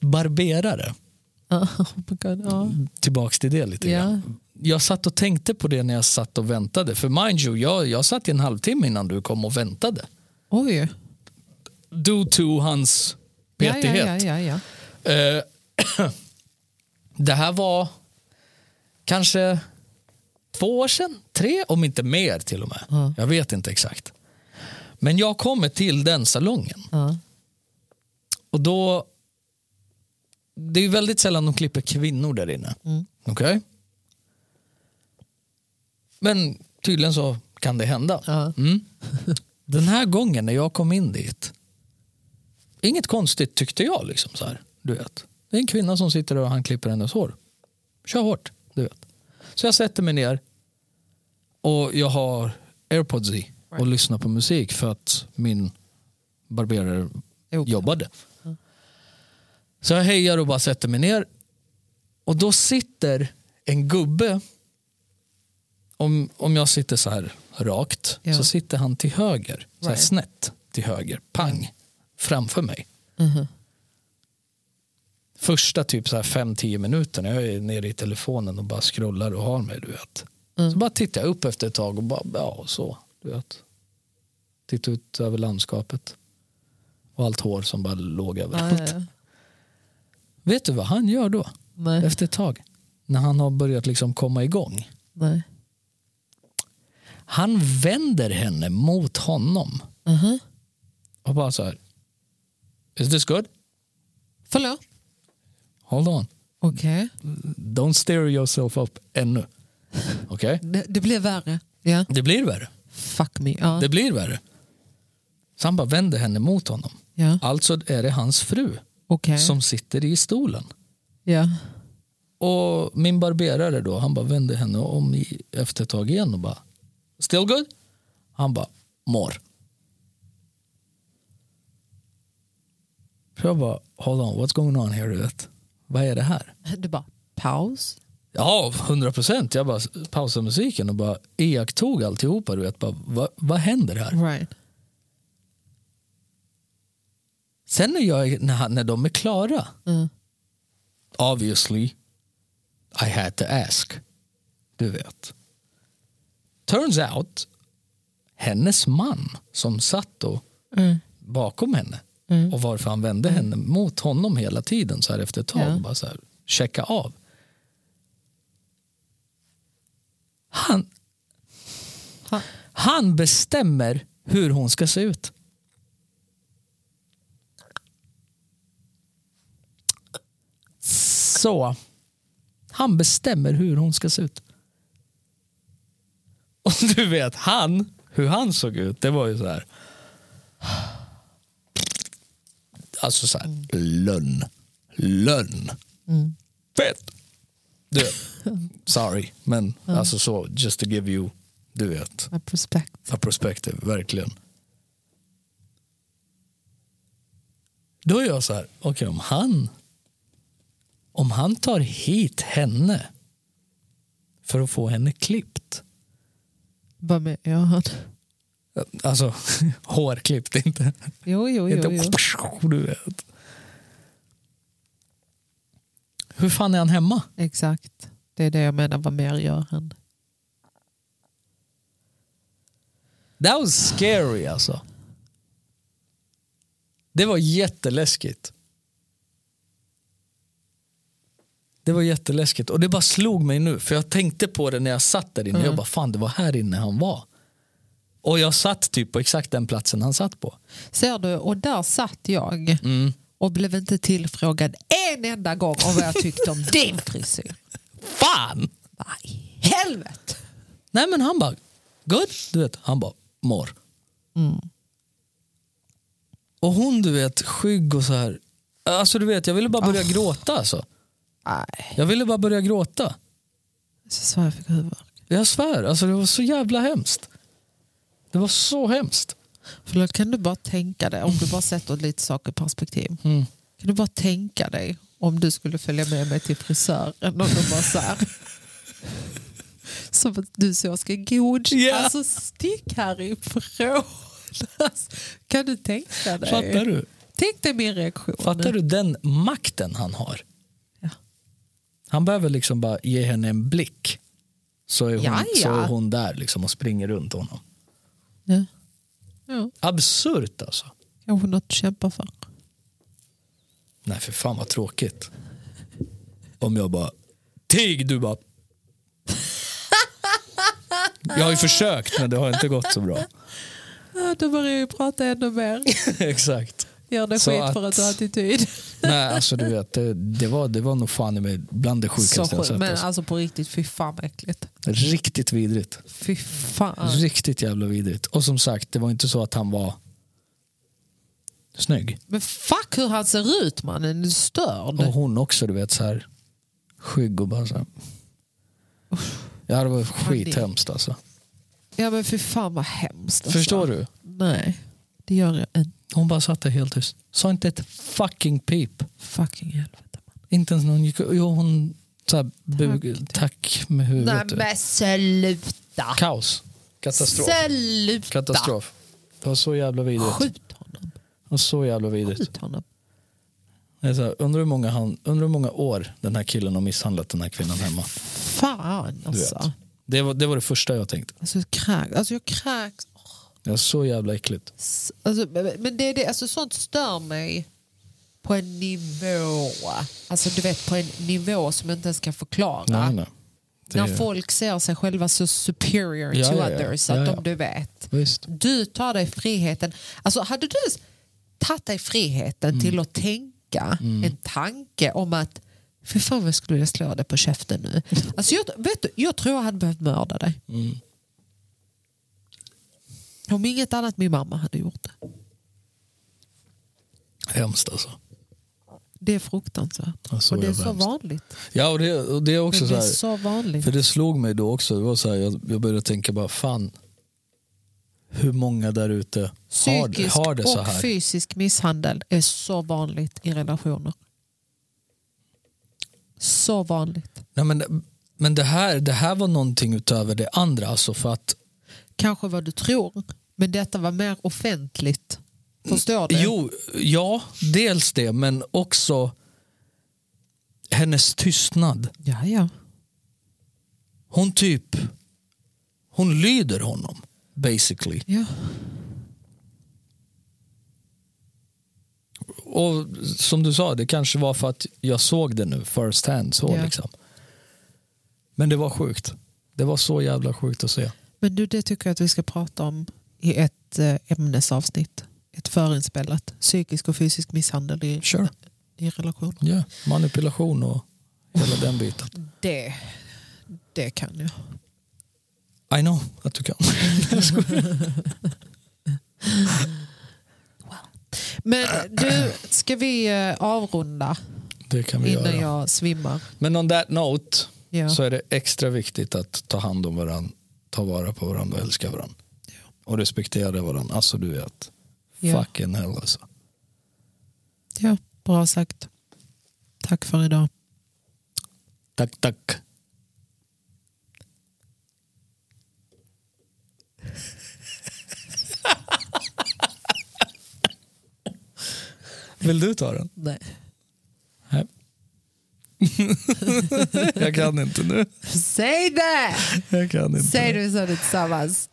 S1: Barberare,
S2: Oh my god. Ja.
S1: Mm. tillbaks till det lite grann.
S2: Ja.
S1: Jag satt och tänkte på det när jag satt och väntade. För mind you, jag, jag satt i en halvtimme innan du kom och väntade.
S2: Oj.
S1: Due to hans petighet.
S2: Ja, ja, ja, ja, ja.
S1: Eh, det här var kanske två år sedan, tre om inte mer till och med.
S2: Ja.
S1: Jag vet inte exakt. Men jag kommer till den salongen
S2: Ja.
S1: och då... Det är ju väldigt sällan de klipper kvinnor där inne.
S2: Mm.
S1: Okej? Men tydligen så kan det hända.
S2: Ja.
S1: Mm. Den här gången när jag kom in dit, inget konstigt tyckte jag. liksom så här, du vet. Det är en kvinna som sitter och han klipper hennes hår. Kör hårt, du vet. Så jag sätter mig ner och jag har airpods i och
S2: Right.
S1: lyssnar på musik för att min barberare
S2: Jo.
S1: jobbade. Så jag hejar och bara sätter mig ner. Och då sitter en gubbe, om, om jag sitter så här rakt,
S2: Ja.
S1: så sitter han till höger, så här
S2: Right.
S1: snett till höger, pang, framför mig.
S2: Mhm.
S1: Första typ så här 5-10 minuterna, jag är nere i telefonen och bara scrollar och har mig, du vet.
S2: Mm.
S1: Så bara tittar jag upp efter ett tag och bara, ja så, du vet. Tittar ut över landskapet. Och allt hår som bara låg
S2: Ja,
S1: överallt.
S2: ja, ja.
S1: Vet du vad han gör då?
S2: Nej.
S1: Efter ett tag. När han har börjat liksom komma igång.
S2: Nej.
S1: Han vänder henne mot honom.
S2: Mhm.
S1: Och bara så här. Is this good?
S2: Förlåt?
S1: Hold on.
S2: Okej.
S1: Don't steer yourself up ännu. Okej?
S2: Det, det blev värre. Ja.
S1: Det blir värre.
S2: Fuck me. Ja.
S1: Det blir värre. Så han bara vänder henne mot honom.
S2: Ja.
S1: Alltså är det hans fru
S2: Okej.
S1: som sitter i stolen.
S2: Ja.
S1: Och min barberare då, han bara vände henne om i, efter ett tag igen och bara Still good? Han bara more. Så jag bara hold on, what's going on here? Du vet? Vad är det här?
S2: Du bara paus.
S1: Ja, 100 procent. Jag bara pausade musiken och bara iakttog alltihopa. Du vet, bara, vad, vad händer här?
S2: Right.
S1: Sen när, jag, när, han- när de är klara,
S2: Mm.
S1: obviously I had to ask. Du vet. Turns out, hennes man som satt då
S2: Mm.
S1: bakom henne och varför han vände henne mot honom hela tiden så här efter ett tag.
S2: Ja.
S1: Bara så här, checka av. Han,
S2: Han-
S1: han bestämmer hur hon ska se ut. Så. Han bestämmer hur hon ska se ut. Och du vet, han, hur han såg ut, det var ju så här. Alltså så här, lönn. Lönn. Fett. Du, vet, sorry, men alltså så, just to give you, du vet,
S2: A prospect.
S1: a perspective, verkligen. Då är jag så här, okej om han, om han tar hit henne för att få henne klippt,
S2: Vad med? Ja, han.
S1: alltså hårklippt inte,
S2: Jo, jo, jo.
S1: inte
S2: jo.
S1: du vet. Hur fan är han hemma?
S2: Exakt. Det är det jag menar. Vad mer gör han?
S1: That was scary alltså. Det var jätteläskigt. Det var jätteläskigt och det bara slog mig nu för jag tänkte på det när jag satt där inne. Jag bara fan det var här inne han var. Och jag satt typ på exakt den platsen han satt på.
S2: Ser du? Och där satt jag
S1: Mm.
S2: och blev inte tillfrågad en enda gång om vad jag tyckte om din frisyr.
S1: Fan!
S2: Vad i helvete?
S1: Nej men han bara, good, du vet, han bara, mår. Och hon du vet, skygg och så här. Alltså du vet, jag ville bara börja gråta alltså.
S2: Nej.
S1: Jag ville bara börja gråta.
S2: Så svär jag fick huvudvärk.
S1: Jag svär, alltså det var så jävla hemskt. Det var så hemskt.
S2: För då kan du bara tänka dig, om du bara sätter lite saker i perspektiv.
S1: Mm.
S2: Kan du bara tänka dig om du skulle följa med mig till frisören och de bara så här. Som att du så ska godkänna.
S1: Ja.
S2: Alltså stick härifrån. Alltså, Kan du tänka dig?
S1: Fattar du?
S2: Tänk dig min reaktion.
S1: Fattar du den makten han har?
S2: Ja.
S1: Han behöver liksom bara ge henne en blick. Så är hon,
S2: Ja, ja.
S1: Så är hon där liksom och springer runt honom.
S2: Ja. Ja.
S1: Absurt alltså.
S2: Kanske något att kämpa för.
S1: Nej för fan vad tråkigt. Om jag bara, tig du bara. Jag har ju försökt men det har inte gått så bra.
S2: Ja, då börjar jag ju prata ännu mer.
S1: Exakt.
S2: Gör det
S1: Så
S2: skit för att
S1: att-
S2: du har attityd.
S1: Nej, alltså du vet, det, det, var, det var nog fan i mig bland det
S2: Så
S1: sjukaste jag
S2: sjukt.
S1: sett.
S2: Men
S1: Alltså.
S2: alltså på riktigt, fy fan vad äckligt.
S1: Riktigt vidrigt.
S2: Fy fan.
S1: Riktigt jävla vidrigt. Och som sagt, det var inte så att han var snygg.
S2: Men fuck hur han ser ut mannen, du är störd.
S1: Och hon också, du vet, så här skygg och bara så här. Ja, det var skithemskt alltså.
S2: Ja men fy fan vad hemskt. alltså.
S1: Förstår du?
S2: Nej, det gör jag inte.
S1: Hon bara satt där helt tyst. Sa inte ett fucking pip.
S2: Fucking helvete.
S1: Inte ens någon gick... Jo, hon så här, bug, tack. med huvudet. du vet.
S2: sluta.
S1: Kaos. Katastrof.
S2: Sluta.
S1: Katastrof. Det var så jävla vidrigt.
S2: Skjut honom.
S1: Det var så jävla vidrigt.
S2: Skjut honom.
S1: Det är så här, undrar, hur många han, undrar hur många år den här killen har misshandlat den här kvinnan hemma.
S2: Fan
S1: Du vet.
S2: alltså.
S1: Det, var, det var det första jag tänkte.
S2: Alltså, jag kräks. alltså jag kräks.
S1: Det var så jävla äckligt.
S2: Alltså, men det, är det, alltså, sånt stör mig på en nivå. Alltså du vet på en nivå som jag inte ens kan förklara.
S1: Nej, nej. Det,
S2: När folk ser sig själva så superior
S1: Ja,
S2: to
S1: ja, ja.
S2: others.
S1: Ja,
S2: Att
S1: ja.
S2: de, du vet.
S1: Visst.
S2: Du tar dig friheten. Alltså hade du ens tagit dig friheten
S1: Mm.
S2: till att tänka en tanke om att för fan vad jag skulle vilja slå dig på käften nu. Alltså jag, vet du, jag tror jag hade behövt mörda dig.
S1: Mm.
S2: Om inget annat min mamma hade gjort det.
S1: Hemskt alltså.
S2: Det är fruktansvärt.
S1: Ja, så
S2: och det är
S1: jävla
S2: så
S1: hemskt.
S2: vanligt.
S1: Ja, och det, och det är också
S2: Det
S1: så
S2: är
S1: här.
S2: så vanligt.
S1: För det slog mig då också. Det var så här, jag, jag började tänka bara fan. Hur många där ute har, det-
S2: Psykisk
S1: har det så
S2: och
S1: här?
S2: fysisk misshandel är så vanligt i relationer. Så vanligt.
S1: Nej, men men det, här, det här var någonting utöver det andra. Alltså för att
S2: Kanske vad du tror, men detta var mer offentligt. Förstår du?
S1: Jo, ja, dels det, men också hennes tystnad.
S2: Ja, ja.
S1: Hon typ, hon lyder honom basically.
S2: ja.
S1: och som du sa, det kanske var för att jag såg det nu first hand. Så,
S2: Ja.
S1: liksom. Men det var sjukt. Det var så jävla sjukt att se.
S2: Men du, det tycker jag att vi ska prata om i ett eh, ämnesavsnitt. Ett förinspelat. Psykisk och fysisk misshandel i,
S1: Sure.
S2: i relation.
S1: Ja, Manipulation och hela den biten.
S2: Det, det kan jag.
S1: I know att du kan.
S2: Men du, ska vi eh, avrunda
S1: Det kan vi
S2: innan
S1: göra.
S2: jag svimmar?
S1: Men on that note
S2: Ja.
S1: så är det extra viktigt att ta hand om varandra, ta vara på varandra och älska varandra. Och respektera varandra. Alltså du vet,
S2: Ja.
S1: fucking hell alltså.
S2: ja, bra sagt. Tack för idag.
S1: Tack, tack. Vill du ta den?
S2: Nej.
S1: Nej. Jag kan inte nu.
S2: Säg det!
S1: Jag kan inte.
S2: Säg
S1: nu.
S2: det så tillsammans.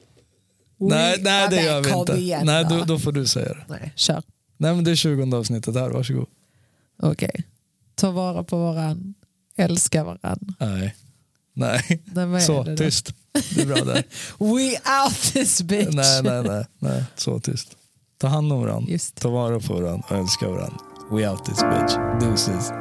S1: Nej,
S2: We-
S1: nej, det
S2: men
S1: gör vi
S2: kom
S1: inte.
S2: igen
S1: nej,
S2: då.
S1: då, då får du säga det.
S2: Nej, kör.
S1: Nej, men det är 20 avsnittet här, varsågod.
S2: Okej. Ta vara på varann. Älska varann.
S1: Nej, nej.
S2: Nej, vad är
S1: Så,
S2: det då?
S1: tyst. Det är bra där.
S2: We out this bitch.
S1: nej, nej, nej, nej. Så tyst. Ta hand om varandra.
S2: Just det.
S1: Ta vara på varandra och älska varandra. We out this bitch. Deuces.